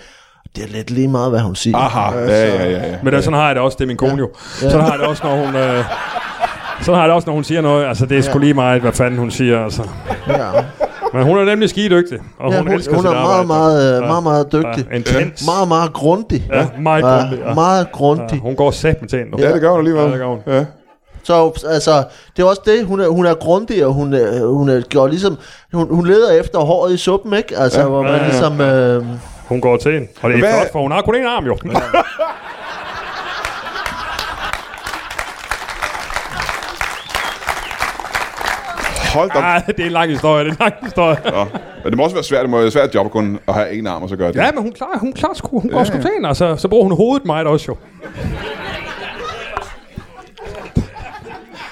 B: Det er lidt lige meget, hvad hun siger.
A: Aha, Ah, ja, ja, ja. ja.
C: Men det, sådan har jeg det også, det er min kone ja. jo. Sådan har jeg det også, når hun... Øh, sådan har jeg det også, når hun siger noget. Altså, det er sgu lige meget, hvad fanden hun siger, altså.
B: Ja.
C: Men hun er nemlig skidedygtig, og
B: Ja,
C: ja, hun,
B: hun-
C: elsker
B: hun
C: sit
B: er meget,
C: arbejde.
B: meget, øh, meget, meget dygtig.
C: Ja, intens.
B: Meget, meget grundig.
C: Ja, meget grundig, ja.
B: Meget grundig.
C: Ja, hun går sat med tænder.
A: Ja, det gør hun alligevel.
C: Ja, det gør hun.
A: Ja.
B: Så altså, det er også det, hun er, hun er grundig, og hun, er, hun er, går ligesom, hun, hun leder efter håret i suppen, ikke? Altså, ja, hvor man
C: Ja, ja, ja.
B: ligesom, øh,
C: Hun går til en. Og det er
A: Hvad-
C: flot, for hun har kun én arm, jo.
A: Hold da op.
C: Ja, det er en lang historie, det er en lang historie.
A: Nå. Men det må også være svært. Det må være et svært job kun at have en arm og så gøre det.
C: Ja, men hun, klarer, hun, klarer sgu, hun går
A: Ja,
C: sgu
A: ja.
C: til en, altså. Så bruger hun hovedet meget også, jo.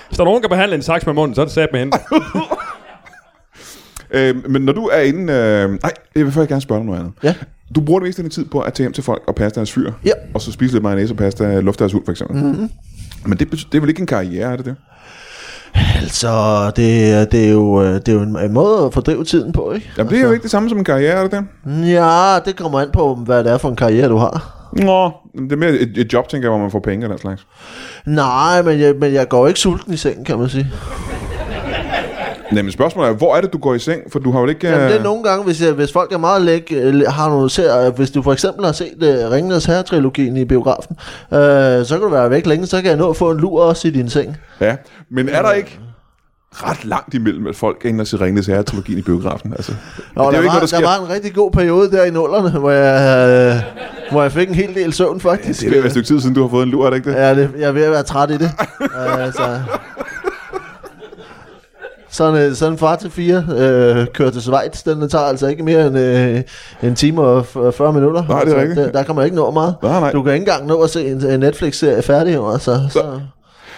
C: Hvis der er nogen, der kan behandle en saks med munden, så er det sat med hende.
A: Øh, men når du er inde... Øh, nej, jeg vil først gerne spørge dig om noget andet.
B: Ja.
A: Du bruger det meste af din tid på at tage hjem til folk og passe deres fyr.
B: Ja.
A: Og så spise lidt mayonnaise og passe deres luft deres hund, for eksempel. Mm-hmm. Men det, bety- det er vel ikke en karriere, er det det?
B: altså, det, er- det er jo, øh, det er jo en, en måde at fordrive tiden på, ikke? Altså.
A: Jamen, det er jo ikke det samme som en karriere, er det det?
B: Ja, det kommer an på, hvad det er for en karriere, du har.
A: Nå. Det er mere et, et job, tænker jeg, hvor man får penge og den slags.
B: Nej, men jeg, men jeg går ikke sulten i sengen, kan man sige.
A: Nej, men spørgsmålet er, hvor er det, du går i seng? For du har jo ikke...
B: Jamen, det er
A: øh,
B: nogle gange, hvis, jeg, hvis folk er meget læk, øh, har nogle serier, hvis du for eksempel har set uh, Ringenes Herre-trilogien i biografen, øh, så kan du være væk længe, så kan jeg nå at få en lur også i din seng.
A: Ja, men er der ikke ret langt imellem, at folk er inde og se Ringnes Herre-trilogien i biografen? Altså,
B: Og
A: det
B: der,
A: er jo ikke
B: var,
A: noget, der
B: der,
A: sker.
B: var en rigtig god periode der i nullerne, hvor jeg, øh, hvor jeg fik en hel del søvn, faktisk.
A: Det er jo et stykke tid siden, du har fået en lur, er det ikke det?
B: Ja, det, jeg er ved at være træt i det. altså, sådan, øh, sådan en far til fire øh, kører til Schweiz, den tager altså ikke mere end øh, en time og f- og 40 minutter.
A: Nej, det er
B: altså,
A: rigtigt.
B: Der, der kan man ikke nå meget.
A: Nej, nej.
B: Du kan ikke engang nå at se en, en Netflix-serie færdig, jo, altså. Så.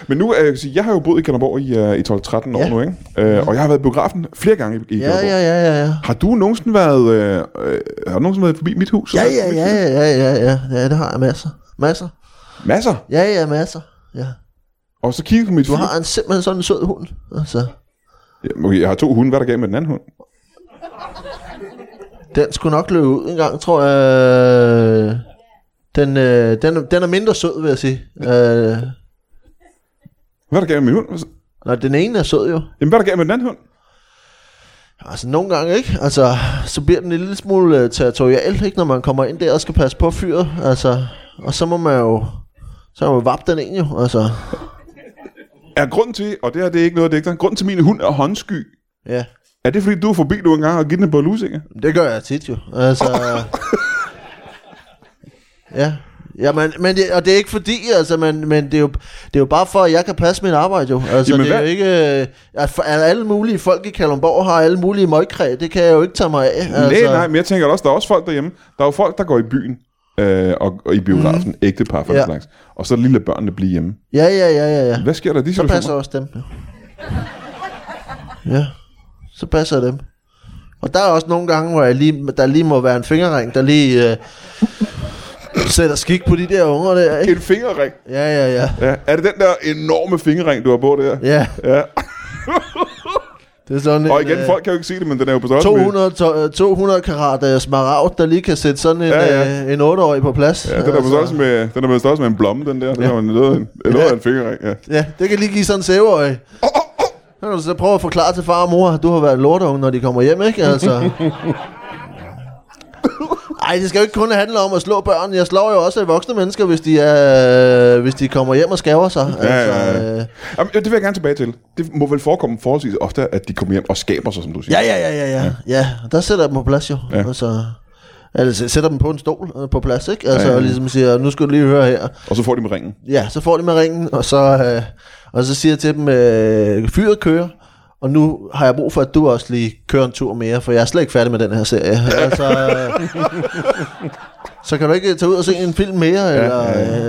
A: Men nu, øh, så jeg har jo boet i Kanderborg i, øh, i 12-13 år
B: Ja.
A: nu, ikke? Øh, Og jeg har været i biografen flere gange i, i
B: Ja,
A: Kanderborg.
B: ja, ja, ja, ja.
A: Har du nogensinde været, øh, øh, har du nogensinde været forbi mit hus?
B: Ja, ja, ja, ja, ja, ja, ja, ja, det har jeg masser. Masser.
A: Masser.
B: Ja, ja, masser. Ja.
A: Og så kiggede jeg på mit
B: Du har en, simpelthen sådan en sød hund. Altså,
A: Ja, okay, jeg har to hunde. Hvad er der galt med den anden hund?
B: den skulle nok løbe ud en gang, tror jeg. Den, øh, den, den er mindre sød, vil jeg sige. Øh,
A: Hvad er der galt med min hund?
B: nej, den ene er sød jo.
A: Jamen, hvad er der galt med den anden hund?
B: Altså nogle gange, ikke? Altså, så bliver den en lille smule øh, territorial, ikke? Når man kommer ind der og skal passe på fyret, altså. Og så må man jo, så må man vappe den ind jo, altså.
A: Er grunden til, og det her det er ikke noget, digter, grunden til, at min hund er håndsky,
B: Ja,
A: er det fordi, du er forbi du engang og givet den på lusinger?
B: det gør jeg tit jo, altså. ja. Ja, men, men det, og det er ikke fordi, altså, men, men det, er jo, det er jo bare for, at jeg kan passe mit arbejde jo. Altså,
A: Jamen,
B: Jamen, det er
A: hvad-
B: jo ikke... øh, At, for- at alle mulige folk i Kalundborg har alle mulige møgkræ, det kan jeg jo ikke tage mig af. Altså.
A: Altså... Nej, nej, men jeg tænker også, der er også folk derhjemme. Der er jo folk, der går i byen øh, og, og, i biografen, mm. ægte par for ja.
B: Mhm. Ja.
A: slags. Og så er det lille børnene blive hjemme.
B: Ja, ja, ja, ja, ja.
A: Hvad sker der i de
B: Så passer
A: situationer?
B: også dem. jo. Ja, så passer jeg dem. Og der er også nogle gange, hvor jeg lige, der lige må være en fingerring, der lige øh, sætter skik på de der unger der, ikke?
A: En fingerring.
B: Ja, ja, ja.
A: Ja. Er det den der enorme fingerring, du har på der?
B: Ja,
A: ja.
B: det er sådan
A: Og
B: en,
A: igen,
B: øh,
A: folk kan jo ikke se det, men den er jo på størrelse med-
B: 200, to, øh, 200 karat øh, smaragd, der lige kan sætte sådan en,
A: Ja,
B: ja,
A: ja.
B: ja. Øh, en 8-årig på plads. Altså,
A: Ja, den er på størrelse med, den er på størrelse med en blomme, den der. Den ja. er jo noget af en, noget af en fingerring, ja.
B: Ja, det kan lige give sådan en sæveøje. Så kan du så prøve at forklare til far og mor, at du har været lortunge, når de kommer hjem, ikke? Altså. Ej, det skal jo ikke kun handle om at slå børn. Jeg slår jo også voksne mennesker, hvis de, er, øh, hvis de kommer hjem og skaver sig.
A: Ja, ja, ja.
B: øh,
A: Jamen, det vil jeg gerne tilbage til. Det må vel forekomme forholdsvis ofte, at de kommer hjem og skaber sig, som du siger.
B: ja, ja, ja, ja, ja. ja. der sætter jeg dem på plads jo.
A: Ja.
B: Ja. Altså, eller s- sætter dem på en stol øh, på plads, ikke? Altså,
A: Ja,
B: ja,
A: ja.
B: ja. og ligesom siger, nu skal du lige høre her.
A: Og så får de med ringen.
B: Ja, så får de med ringen, og så, øh, og så siger jeg til dem, øh, fyret kører, og nu har jeg brug for, at du også lige kører en tur mere, for jeg er slet ikke færdig med den her serie. altså, øh, så kan du ikke tage ud og se en film mere, ja, eller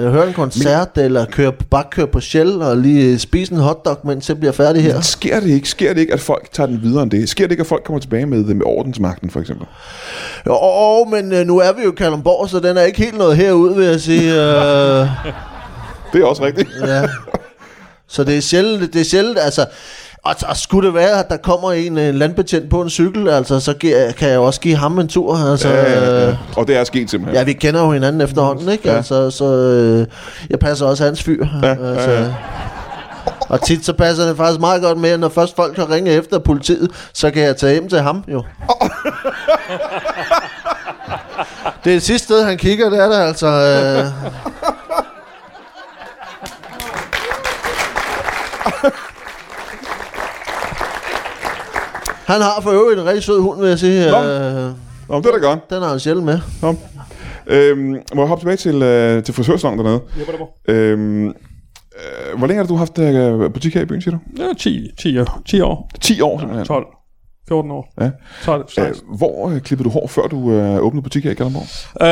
B: øh, høre en koncert, Men... eller køre, bare køre på Shell, og lige spise en hotdog, mens jeg bliver færdig her.
A: Sker det ikke? Sker det ikke, at folk tager den videre end det? Sker det ikke, at folk kommer tilbage med, med ordensmagten, for eksempel?
B: Jo, åh, men øh, nu er vi jo i Kalundborg, så den er ikke helt noget herude, vil jeg sige. Øh,
A: Det er også rigtigt.
B: Ja. Så det er sjældent, det er sjældent altså, og, og skulle det være, at der kommer en, en landbetjent på en cykel, altså, så gi- kan jeg jo også give ham en tur. Altså,
A: Ja, ja,
B: øh,
A: ja. Og det er sket simpelthen.
B: ja, vi kender jo hinanden efterhånden, ikke?
A: Ja.
B: Ja. Altså, så øh, jeg passer også hans fyr. Ja, altså,
A: ja, ja.
B: Og tit så passer det faktisk meget godt med, at når først folk har ringet efter politiet, så kan jeg tage hjem til ham jo. det er det sidste sted, han kigger, det er der altså. Øh, han har for øvrigt en rigtig sød hund, vil jeg sige.
A: Nå.
B: Øh,
A: Nå, men det er da godt.
B: den har han sjældent med.
A: Nå. Øhm, må jeg hoppe tilbage til, øh, til frisørsalongen dernede?
C: Jeg var der på.
A: Øhm, øh, hvor længe har du haft øh, butik her i byen, siger du?
C: Ja, 10, 10, år- 10 år.
A: 10 år, simpelthen.
C: 12. 14 år.
A: Ja.
C: 12, 16.
A: Øh, hvor øh, klippede du hår, før du øh, åbnede butik her i Kalundborg?
C: Øh,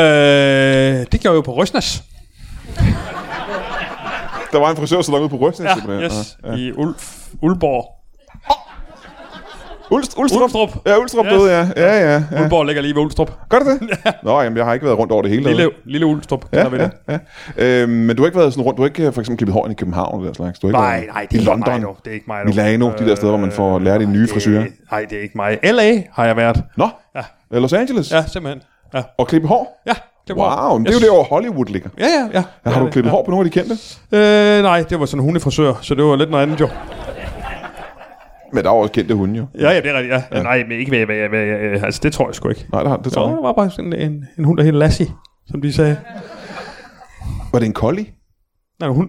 C: det gjorde jeg jo på Røsnes.
A: Der var en frisørsalon ude på Røsnæs,
C: Ja,
A: simpelthen.
C: yes.
A: Ja.
C: I Ulf, Ulborg.
A: Ulst, Ulstrup.
C: Ulstrup.
A: Ja, Ulstrup yes.
C: Yes.
A: døde, ja. Ja, ja, ja.
C: Ulborg ligger lige ved Ulstrup.
A: Gør det det? Nå, jamen, jeg har ikke været rundt over det hele.
C: Lille, lille Ulstrup.
A: Ja,
C: kender vi
A: ja,
C: det.
A: ja. Øhm, men du har ikke været sådan rundt, du har ikke øh, for eksempel klippet hår ind i København eller den slags? Du har ikke
C: Nej,
A: været
C: nej, det er
A: I
C: ikke
A: London,
C: mig, dog. det er ikke mig. dog. Øh,
A: Milano, de der steder, hvor man får lært de
C: nej,
A: nye
C: det-
A: frisurer.
C: Nej, det er ikke mig. LA har jeg været.
A: Nå,
C: Ja.
A: ja. Los Angeles
C: Ja, simpelthen. Ja,
A: og klippe hår?
C: ja. Det
A: Wow, men det er jo der, hvor Hollywood ligger.
C: Ja, ja, ja.
A: Ja, har du klippet hår på nogle af de kendte?
C: Øh, nej, det var sådan en hundefrisør, så det var lidt noget andet jo.
A: Men der er jo også kendte hunde, jo.
C: Ja, ja, det er rigtigt, ja. ja. Nej, men ikke hvad, hvad, hvad, hvad, altså det tror jeg sgu ikke.
A: Nej, det, har, det tror
C: Så
A: jeg
C: der
A: ikke.
C: var bare sådan en, en hund, der hed Lassie, som de sagde.
A: Var det en collie?
C: Nej, en hund.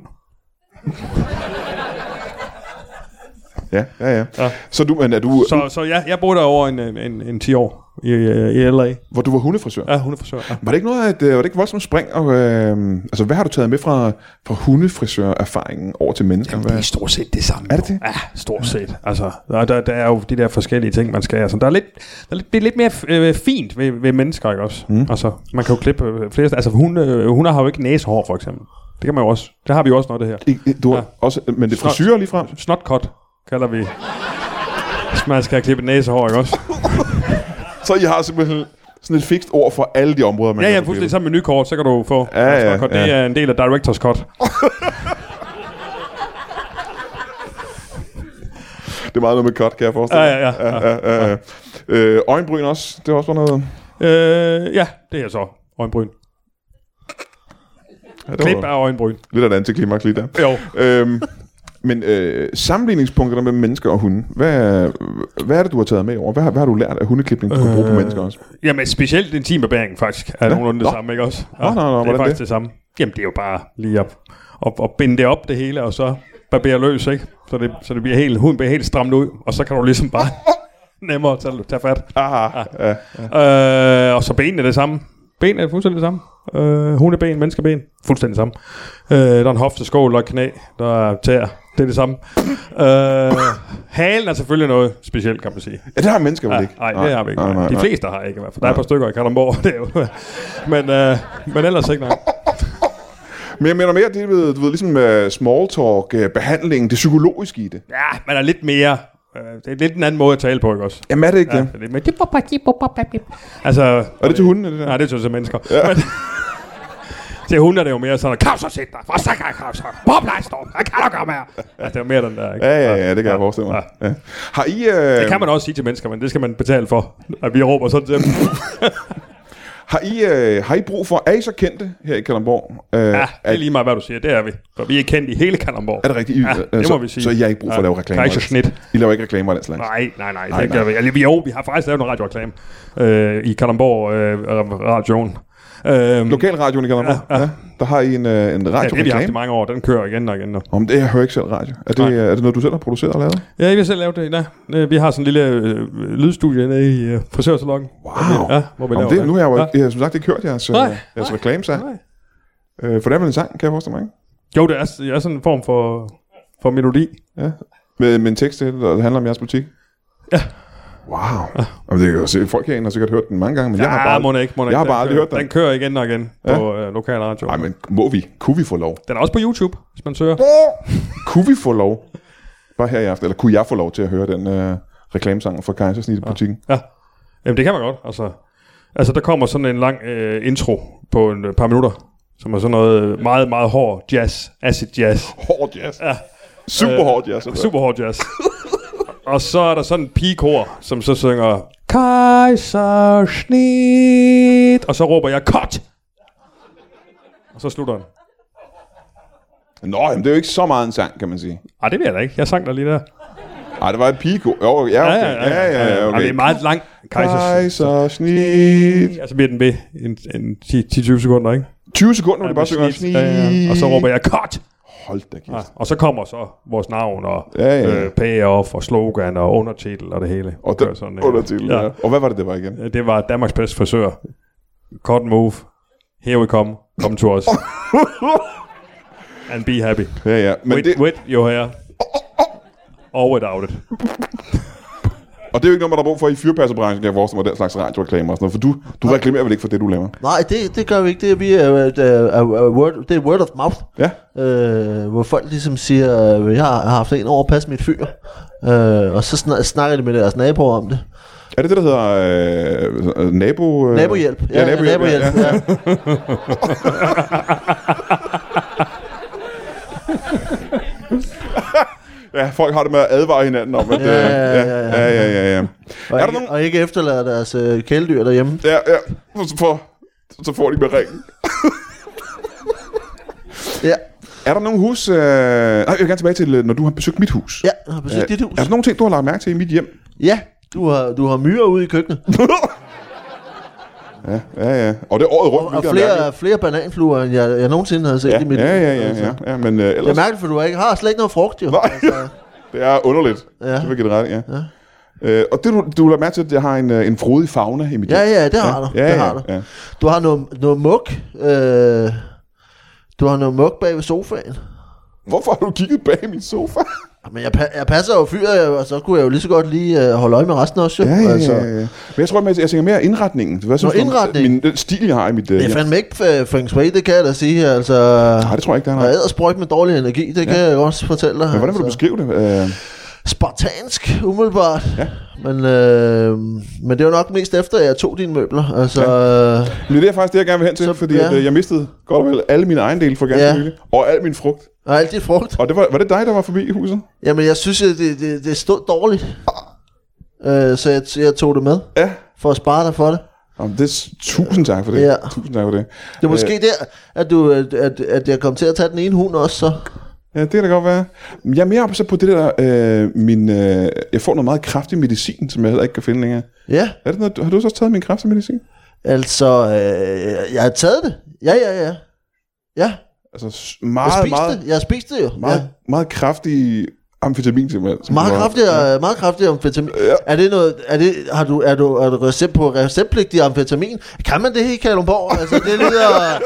A: Ja, ja, ja. ja.
C: Ja.
A: Så du, men er du, så...
C: Så, så jeg, jeg boede der over en, en, en, en 10 år i, øh, i LA.
A: hvor du var hundefrisør? Ja.
C: Ja, hundefrisør. Ja.
A: Var det ikke noget, at, øh, var det ikke voldsomt spring? Og, øh, altså, hvad har du taget med fra, fra hundefrisør-erfaringen over til mennesker? Hvad?
C: Det er stort set det samme.
A: Er det
C: jo.
A: det?
C: Ja, stort set. Altså, der, der, der er jo de der forskellige ting, man skal. Altså, der er lidt, der er lidt, det er lidt mere øh, fint ved, ved mennesker, ikke også? Mm. Altså, man kan jo klippe øh, flere... Altså, hunde, øh, hunde har jo ikke næsehår, for eksempel. Det kan man jo også. Det har vi jo også noget, det her.
A: I- I- Du har
C: Ja.
A: ja. også, men det er
C: Snot.
A: frisyrer lige frem.
C: Snotcut kalder vi. Hvis man skal have klippet næsehår, ikke også?
A: Så I har simpelthen sådan et fikst ord for alle de områder, man
C: Ja,
A: kan
C: ja,
A: få
C: fuldstændig
A: klippet.
C: sammen med menukort, så kan du få
A: Ja, ja,
C: snotcut. Det
A: ja.
C: er en del af director's cut.
A: Det er meget noget med cut, kan jeg forestille
C: Ja,
A: mig.
C: ja, ja. ja.
A: ja, ja, ja. Øh, øjenbryn også, det er også bare noget...
C: Øh, ja, det er så øjenbryn.
A: Ja, det var
C: Klip af øjenbryn.
A: Lidt af et antiklimaks lige der.
C: Jo.
A: øhm, men øh, sammenligningspunkterne mellem mennesker og hunde, hvad, hvad er det, du har taget med over? Hvad, har- hvad har du lært af hundeklipning, du kan bruge på
C: Øh,
A: mennesker også?
C: Jamen, specielt intimbebæringen faktisk er
A: Ja,
C: ja. nogenlunde det
A: nå.
C: samme, ikke også?
A: Nå, nå, nå,
C: det
A: hvordan
C: er faktisk
A: det?
C: det? samme. Jamen, det er jo bare lige at, at, at binde det op det hele, og så barbere løs, ikke? Så, det, så det bliver helt, huden bliver helt stramt ud, og så kan du ligesom bare nemmere tage, tage fat.
A: Aha, ja.
C: Øh, og så benene er det samme. Benene er fuldstændig det samme. Øh, hundeben, menneskeben, fuldstændig det samme. Øh, der er en hofte, skål, der er knæ, der er tæer. Det er det samme. øh, halen er selvfølgelig noget specielt, kan man sige.
A: ja, det har mennesker vel
C: Ja,
A: ikke?
C: Ah, nej, det har vi ikke.
A: Nej, nej,
C: De
A: nej.
C: fleste har ikke i hvert fald. Der er et par stykker i Kalundborg. Det er jo. men, øh, men ellers ikke, nej.
A: Men jeg mener mere, det er ved- du ved, ligesom uh, small talk, uh, behandling, det psykologiske i det.
C: Ja, man er lidt mere... Øh, det er lidt en anden måde at tale på, ikke også?
A: Jamen er det ikke ja.
C: Ja.
A: det?
C: det er lidt mere... dip, bop, dip, bop, bop, dip. Altså,
A: Er det til hundene, det der?
C: Nej, det synes jeg mennesker. Ja. Men, til hunde er det jo mere sådan, kom så sæt dig, for så kan jeg komme så, bob nej storm, jeg kan du komme her. Altså, det er jo mere den der, ikke?
A: Ja, ja, ja, det kan jeg forestille mig. Ja. Har I, øh,
C: Det kan man også sige til mennesker, men det skal man betale for, at vi råber sådan til dem.
A: har, I, øh, har I brug for, er I så kendte her i Kalundborg? Øh,
C: Ja, det er lige meget, hvad du siger, det er vi. For vi er kendt i hele Kalundborg.
A: Er det rigtigt? I,
C: Ja,
A: øh,
C: det
A: så,
C: må vi sige.
A: Så I har ikke brug for at
C: Ja.
A: lave reklamer?
C: Der er ikke så
A: og den
C: snit.
A: slags? I laver ikke reklamer af den slags?
C: Nej, nej, nej,
A: Nej,
C: nej det
A: nej.
C: gør vi. Eller, jo, vi har faktisk lavet en radioreklame øh, i Kalundborg øh, radioen. Øhm,
A: Lokalradioen i Kalundborg? Ja, ja. Der har I en, øh, en
C: ja, det har vi haft i
A: radioreklame?
C: mange år, den kører igen og igen nu.
A: Om det, jeg hører ikke selv radio. Er det, øh, er det noget, du selv har produceret og lavet?
C: Ja, vi har selv lavet det. Nej, øh, vi har sådan en lille øh, lydstudie nede i øh, frisørsalongen.
A: Wow.
C: Ja, hvor vi
A: Om
C: laver
A: det, nu har jeg jo
C: Ja.
A: ikke- jeg har som sagt ikke hørt jeres, øh,
C: Nej,
A: jeres
C: nej,
A: reklame, så.
C: nej.
A: Øh, for det er vel en sang, kan jeg forestille mig, ikke?
C: Jo, det er, det er sådan en form for, for melodi.
A: Ja. Med, med en tekst til, det, der handler om jeres butik?
C: Ja.
A: Wow. Og det kan jo se, folk herinde har sikkert hørt den mange gange, men jeg har bare...
C: må den ikke, må den
A: jeg har
C: ikke. Den
A: bare aldrig
C: kører-
A: hørt den.
C: Den kører igen og igen ja. på øh, lokal radio.
A: Ej, men må vi? Kunne vi få lov?
C: Den er også på YouTube, hvis man søger.
A: Kunne vi få lov? Bare her i aften. Eller kunne jeg få lov til at høre den øh, reklamesang fra Kejsersnittebutikken?
C: Ja. Jamen, det kan man godt. Altså, altså der kommer sådan en lang øh, intro på en øh, par minutter, som er sådan noget øh, meget, meget hård jazz, acid jazz.
A: Hård jazz. Ja. Super hård jazz. altså.
C: Øh, Super hård jazz. Og så er der sådan en pigekor, som så synger Kejserschnitt, og så råber jeg cut. Og så slutter den.
A: Nå, jamen, det er jo ikke så meget en sang, kan man sige.
C: Ej, det ved jeg da ikke. Jeg sang der lige der.
A: Ej, det var et piko. Jo, ja, okay. Ja, ja, ja,
C: Ej, det er
A: okay.
C: meget lang kejser.
A: Kejsersnit.
C: Og så bliver den ved en, en 10 10-20 sekunder, ikke?
A: 20 sekunder, hvor det bare synger.
C: Ja, ja. Og så råber jeg Ah, cut.
A: Hold da kæft.
C: Og så kommer så vores navn og
A: Ja, ja.
C: Øh, payoff og slogan og undertitel og det hele.
A: Og
C: Kører
A: den
C: ikke?
A: undertitel, ja. Og hvad var det, det var igen?
C: Ja, Øh, Det var Danmarks bedste frisør. Cut move. Here we come. Come to us. And be happy.
A: Ja, ja. Men
C: With,
A: det,
C: with your hair. Or without it.
A: og det er jo ikke noget, man har brug for i fyrpasserbranchen, kan jeg forestille mig, den slags radioreklamer og sådan noget. For du, du reklamerer vel ikke for det, du laver?
B: Nej, det, det gør vi ikke. Det er, vi, er, er, er, er word, det er word of mouth.
A: Ja.
B: Øh, hvor folk ligesom siger, øh, jeg har har haft en over at passe mit fyr. Øh, og så snak, snakker de med deres naboer om det.
A: Er det det, der hedder øh, øh, nabo... Øh,
B: Nabohjælp.
A: Ja, ja nabohjælp. Ja, ja.
B: ja.
A: ja, folk har det med at advare hinanden om, at... øh,
B: Ja, ja, ja,
A: ja, ja, ja, ja.
B: Og,
A: Er der
B: ikke,
A: nogen...
B: og ikke efterlader deres øh, kæledyr derhjemme.
A: Ja, ja. Så får, så får de med ringen.
B: Ja,
A: Er der nogen hus... Øh... Nej, jeg vil gerne tilbage til, øh, når du har besøgt mit hus.
B: ja jeg har besøgt
A: Øh,
B: dit hus.
A: Er der nogle ting, du har lagt mærke til i mit hjem?
B: Ja, du har, du har myrer ude i køkkenet.
A: Ja, ja, ja. Og det er året rundt,
B: Og, og
A: hvilket er
B: flere,
A: mærkeligt.
B: flere bananfluer, end jeg, jeg nogensinde har set
A: Ja,
B: i mit
A: ja,
B: liv.
A: ja, ja,
B: Altså.
A: ja, ja, men øh,
B: Det er
A: ellers,
B: mærkeligt, for du har ikke har slet ikke noget frugt, jo. Altså.
A: Nej. det er underligt.
B: Ja.
A: Det vil give det ret, i, ja. ja. Øh, og det, du, du lader mærke til, at jeg har en, øh, en frodig fauna i mit
B: Ja,
A: hjem.
B: ja, det har
A: Ja,
B: du.
A: ja,
B: det
A: ja,
B: har du.
A: ja.
B: Du har noget, noget muk. Øh, du har noget muk bag ved sofaen.
A: Hvorfor har du kigget bag min sofa?
B: Men jeg, pa- jeg passer jo fyret, og så kunne jeg jo lige så godt lige øh, holde øje med resten også. jo. Altså,
A: Ja, ja, ja, ja, ja. Men jeg tror, at jeg tænker mere indretningen. Det var sådan,
B: indretningen.
A: Min, den stil, jeg har i mit... øh,
B: Det er
A: hjem.
B: fandme ikke øh, Feng Shui, det kan jeg da sige. Altså,
A: Nej, det tror jeg ikke, der er
B: og
A: noget.
B: ædersprøjt med dårlig energi, det ja. kan jeg også fortælle dig. Altså,
A: Men hvordan vil du beskrive det? Øh,
B: Spartansk, umiddelbart.
A: Ja.
B: Men, øh, men det var nok mest efter, at jeg tog dine møbler. Altså, ja.
A: men det er faktisk det, jeg gerne vil hen til,
B: Så-
A: fordi
B: ja.
A: at, øh, jeg mistede godt og vel alle mine ejendele for ganske
B: Ja.
A: nylig, og al min frugt.
B: og alt det frugt.
A: Og det var, var det dig, der var forbi i huset?
B: Jamen, jeg synes, at det, det, det stod dårligt.
A: Ah.
B: Øh, så jeg, jeg tog det med,
A: Ja.
B: for at spare dig for det.
A: Jamen, det, tusind tak for det.
B: Ja.
A: Tusind tak for det.
B: Det er
A: Øh.
B: måske der, at, du, at, at, at jeg kom til at tage den ene hund også, så.
A: Ja, det kan da godt være. Jeg er mere opsat på det der, øh, min, øh, jeg får noget meget kraftig medicin, som jeg heller ikke kan finde længere.
B: Ja,
A: Er det noget, har du så også taget min kraftige medicin?
B: altså, øh, jeg har taget det. Ja, ja, ja. Ja,
A: Altså s-
B: jeg
A: meget,
B: spiste
A: meget,
B: det. Jeg spiste det jo.
A: meget,
B: ja.
A: meget kraftig amfetamin simpelthen. som
B: Meget
A: du har-
B: kraftigere, meget kraftigere amfetamin.
A: Øh,
B: Ja. Er det noget, er det, har du, er du, er du recept på receptpligtig amfetamin? Kan man det i Kalundborg? Altså, det lyder...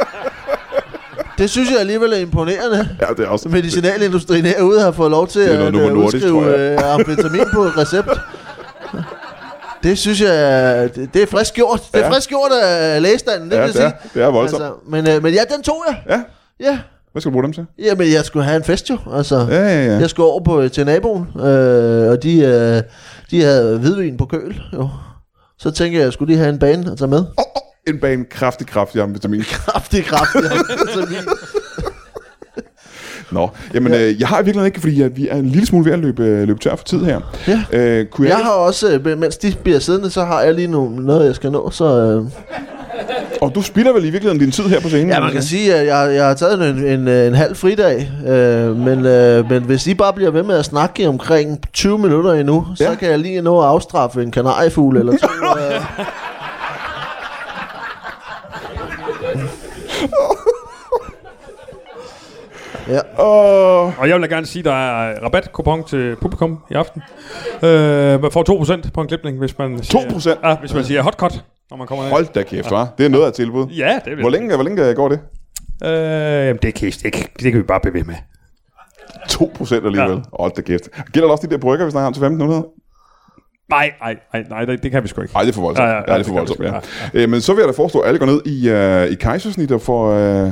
B: Det synes jeg alligevel er imponerende.
A: Ja, det er også
B: Medicinalindustrien herude har fået lov til
A: er noget
B: at
A: Novo
B: øh,
A: Nordisk, tror
B: udskrive
A: jeg.
B: øh, amfetamin på recept. Det synes jeg, er- det, det er frisk gjort. Det er
A: Ja.
B: frisk gjort af lægestanden, det
A: Ja,
B: vil jeg
A: det er,
B: sige.
A: det er voldsomt. Altså.
B: men, øh, men ja, den tog jeg.
A: Ja,
B: Ja.
A: hvad skal du bruge dem til?
B: Jamen, jeg skulle have en fest jo, altså.
A: Ja, ja, ja.
B: Jeg skulle over på, til naboen, øh, og de, øh, de havde hvidvin på køl, jo. Så tænkte jeg, at jeg skulle lige have en bane at tage med.
A: Oh, oh, en bane kraftig, kraftig amfetamin.
B: Kraftig, kraftig. amfetamin.
A: Nå, jamen ja. øh, jeg har i virkeligheden ikke, fordi jeg, vi er en lille smule ved at løbe, øh, løbe tør for tid her.
B: Ja.
A: Øh, kunne jeg,
B: jeg har også, øh, mens de bliver siddende, så har jeg lige nu, noget, jeg skal nå, så... Øh.
A: Og du spilder vel i virkeligheden din tid her på scenen?
B: Ja, man kan sige, at jeg, jeg har taget en, en, en halv fridag, øh, men, øh, men hvis I bare bliver ved med at snakke i omkring 20 minutter endnu, ja.
A: Ja.
B: så kan jeg lige nå at afstraffe en kanariefugl eller to. øh. ja.
A: Åh,
C: Og jeg vil da gerne sige, at der er rabatkupon til publikum i aften. Øh, man får 2% på en klipning, hvis man siger...
A: 2%?
C: Ja, hvis man siger hotcut, når man kommer ned.
A: hold da kæft, hva'? Det er noget af et tilbud.
C: Ja, det vil
A: Hvor længe, hvor længe går det?
C: Øh, jamen, det, kan, det, kan, det kan vi bare blive ved med.
A: 2% alligevel. Ja. Hold da kæft. Gælder det også de der brygger, vi snakker om til 1500?
C: Nej, nej, nej, nej, det, det kan vi sgu ikke.
A: Nej, det er for voldsomt.
C: Ja,
A: Ja,
C: ja,
A: ja,
C: ja,
A: det er for
C: det
A: voldsomt,
C: kan
A: ja.
C: man
A: ja. Øh, men så vil jeg da foreslå, at alle går ned i, øh, i kejsersnit og får... Øh,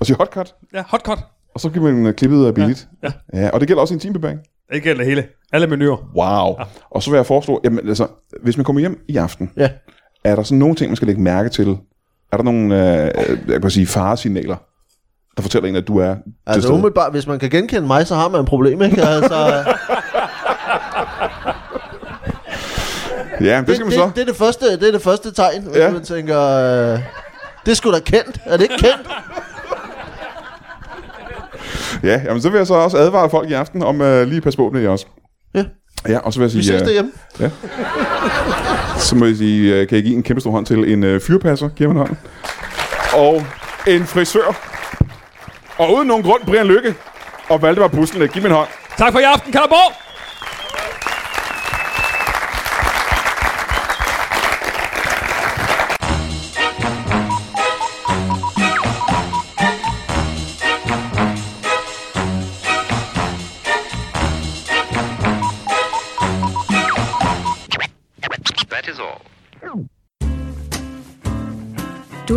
A: og siger hotcut,
C: Ja, hotcut.
A: og så bliver man øh, klippet af billigt.
C: Ja,
A: ja. ja. og det gælder også i en timebebang.
C: Det gælder det hele. Alle menuer.
A: Wow. Ja. Og så vil jeg foreslå, jamen altså, hvis man kommer hjem i aften,
B: ja.
A: er der sådan nogle ting, man skal lægge mærke til? Er der nogle, øh, øh, jeg kan sige, faresignaler, der fortæller en, at du er til
B: Altså
A: stede?
B: umiddelbart, hvis man kan genkende mig, så har man et problem, ikke? Altså, øh,
A: Ja, det, det skal man
B: det,
A: så.
B: det, det, er det første, det er det første tegn, hvis
A: Ja.
B: man tænker, øh, det er sgu da kendt. Er det ikke kendt?
A: Ja, jamen, så vil jeg så også advare folk i aften om øh, lige at passe på med det også.
B: Ja.
A: Ja, og så vil jeg sige...
B: Vi ses
A: øh,
B: derhjemme.
A: Så må jeg sige, øh, kan jeg give en kæmpe stor hånd til en øh, fyrpasser, giver man hånd. Og en frisør. Og uden nogen grund, Brian Lykke og Valdemar Puslen, giv mig en hånd.
C: Tak for i aften, Kalderborg!
D: That is all.
E: Du